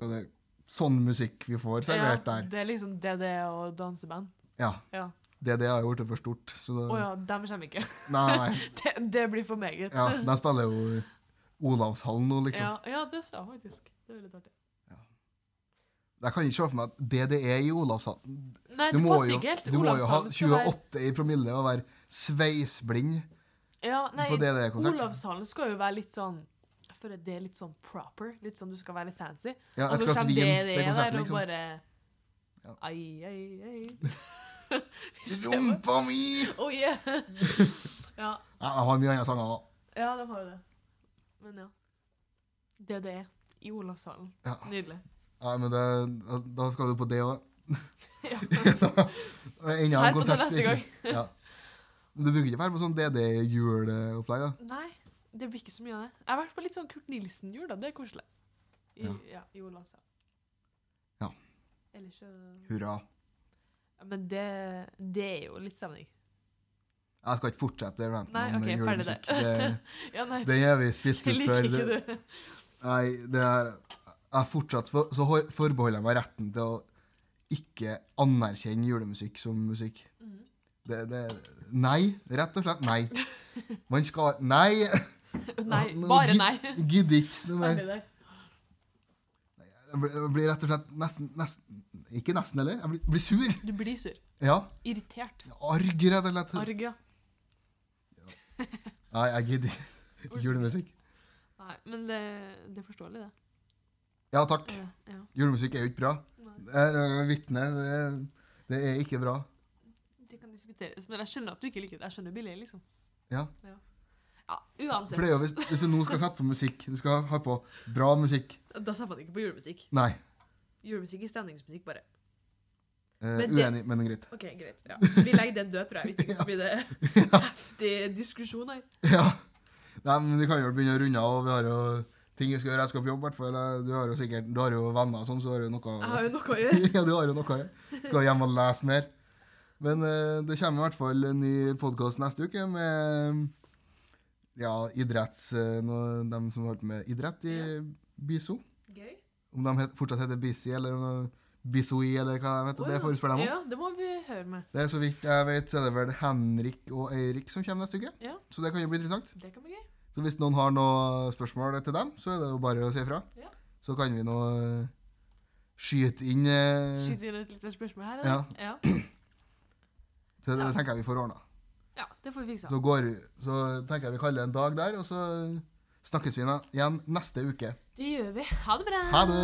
S1: Og det er sånn musikk vi får
S2: Ja,
S1: servert der.
S2: Det er liksom DD og danseband.
S1: Ja.
S2: Ja.
S1: Det, det har jo blitt for stort. Så det,
S2: Å ja, dem kommer ikke.
S1: Nei, nei.
S2: Det, det blir for meget.
S1: Ja, de spiller jo Olavshallen nå, liksom.
S2: Ja, ja, det sa jeg faktisk. Det er litt artig.
S1: Jeg kan ikke se for meg at det det er i Olavshallen
S2: Nei,
S1: Du
S2: det
S1: må
S2: passer
S1: jo,
S2: ikke helt.
S1: du må jo ha
S2: Olavshallen skal være-
S1: 28 i promille og være sveisblind
S2: ja, nei,
S1: på det det er konsert.
S2: Olavshallen skal jo være litt sånn Jeg føler det er litt sånn proper. Litt sånn du skal være litt fancy.
S1: Ja,
S2: Og
S1: et
S2: så
S1: glass
S2: kommer
S1: vin
S2: det
S1: til
S2: det der
S1: konserten,
S2: og
S1: liksom.
S2: bare
S1: Ja.
S2: Ai, ai, ai. Hvis det var-
S1: Rumpa mi!
S2: Oh yeah! ja,
S1: Ja, jeg har mye andre sanger òg.
S2: ja, de har jo det. Men ja. Det det er. I Olavshallen.
S1: Ja.
S2: Nydelig.
S1: Ja, men det, da skal du på det òg.
S2: Ja.
S1: Enda
S2: Her
S1: en
S2: på til
S1: konsert.
S2: neste gang.
S1: Ja. Men du bruker ikke å være på sånn DD-juleopplegg, da?
S2: Nei, det blir ikke så mye av det. Jeg har vært på litt sånn Kurt Nilsen-jul, da. Det er koselig. I, ja.
S1: Ja.
S2: i Olavshallen.
S1: Ja.
S2: Ellers så
S1: Hurra.
S2: Ja, Men det, det er jo litt stemning.
S1: Jeg skal ikke fortsette ranten
S2: Nei, ok, ferdig det.
S1: Det,
S2: Ja, nei,
S1: den er vi spilt
S2: det
S1: ut
S2: liker
S1: før.
S2: ikke
S1: Det,
S2: du.
S1: nei, det er Jeg fortsatt for, Så hor- forbeholder jeg meg retten til å ikke anerkjenne julemusikk som musikk.
S2: Mhm.
S1: Det, det, nei, rett og slett nei. Man skal Nei!
S2: Nei,
S1: Nå
S2: bare
S1: gid-
S2: nei.
S1: Gidder ikke noe mer.
S2: Ferdig der.
S1: Jeg blir, jeg blir rett og slett nesten, nesten Ikke nesten heller. Jeg blir, blir sur.
S2: Du blir sur.
S1: Ja.
S2: Irritert.
S1: Arg, rett og slett.
S2: Arg, ja.
S1: Nei, jeg gidder ikke julemusikk.
S2: Nei, men det, det er forståelig, det.
S1: Ja takk.
S2: Ja, ja.
S1: Julemusikk er jo ikke bra.
S2: Nei,
S1: Jeg er eh, vitne. Det, er- det er ikke bra.
S2: Det kan diskuteres, men jeg skjønner at du ikke liker det. Jeg skjønner bildet, liksom.
S1: Ja.
S2: Ja, ja
S1: For det er
S2: uansett.
S1: jo hvis, hvis du nå skal sette på musikk Du skal ha på bra musikk.
S2: Da ser man ikke på julemusikk.
S1: Nei.
S2: Julemusikk er stemningsmusikk, bare.
S1: eh,
S2: Men det-
S1: uenig, men greit.
S2: OK, greit. Ja. Vi legger den død, tror jeg. Hvis ikke så blir det heftig diskusjon her.
S1: Ja. Nei, men vi kan jo begynne å runde av. og Vi har jo ting vi skal gjøre. Jeg skal på jobb, i hvert fall. Du har jo sikkert Du har jo venner og sånn, så har du noe
S2: Jeg har jo noe å gjøre.
S1: Ja, du har jo noe. ja. Skal hjem og lese mer. Men eh, det kommer i hvert fall en ny podkast neste uke med ja, idretts... eh, noe, dem som holder på med idrett i BISO.
S2: Gøy.
S1: Om de het, fortsatt heter BISI eller noe BISOI eller hva de heter,
S2: Å,
S1: det
S2: ja.
S1: får vi spørre dem om.
S2: Ja, det må vi høre med.
S1: Det er Så vidt jeg vet, så er det vel Henrik og Eirik som kommer neste uke.
S2: Ja.
S1: Så det kan jo bli interessant.
S2: Det kan bli gøy.
S1: Så hvis noen har noen spørsmål til dem, så er det jo bare å si ifra.
S2: Ja.
S1: Så kan vi nå eh, skyte inn eh,
S2: Skyte inn et lite spørsmål her, eller? Ja.
S1: Så det
S2: Ja.
S1: tenker jeg vi får ordna.
S2: ja. Det får vi fiksa.
S1: Så, går, så tenker jeg vi kaller det en dag der, og så snakkes vi igjen neste uke.
S2: Det gjør vi. Ha det bra.
S1: Ha det!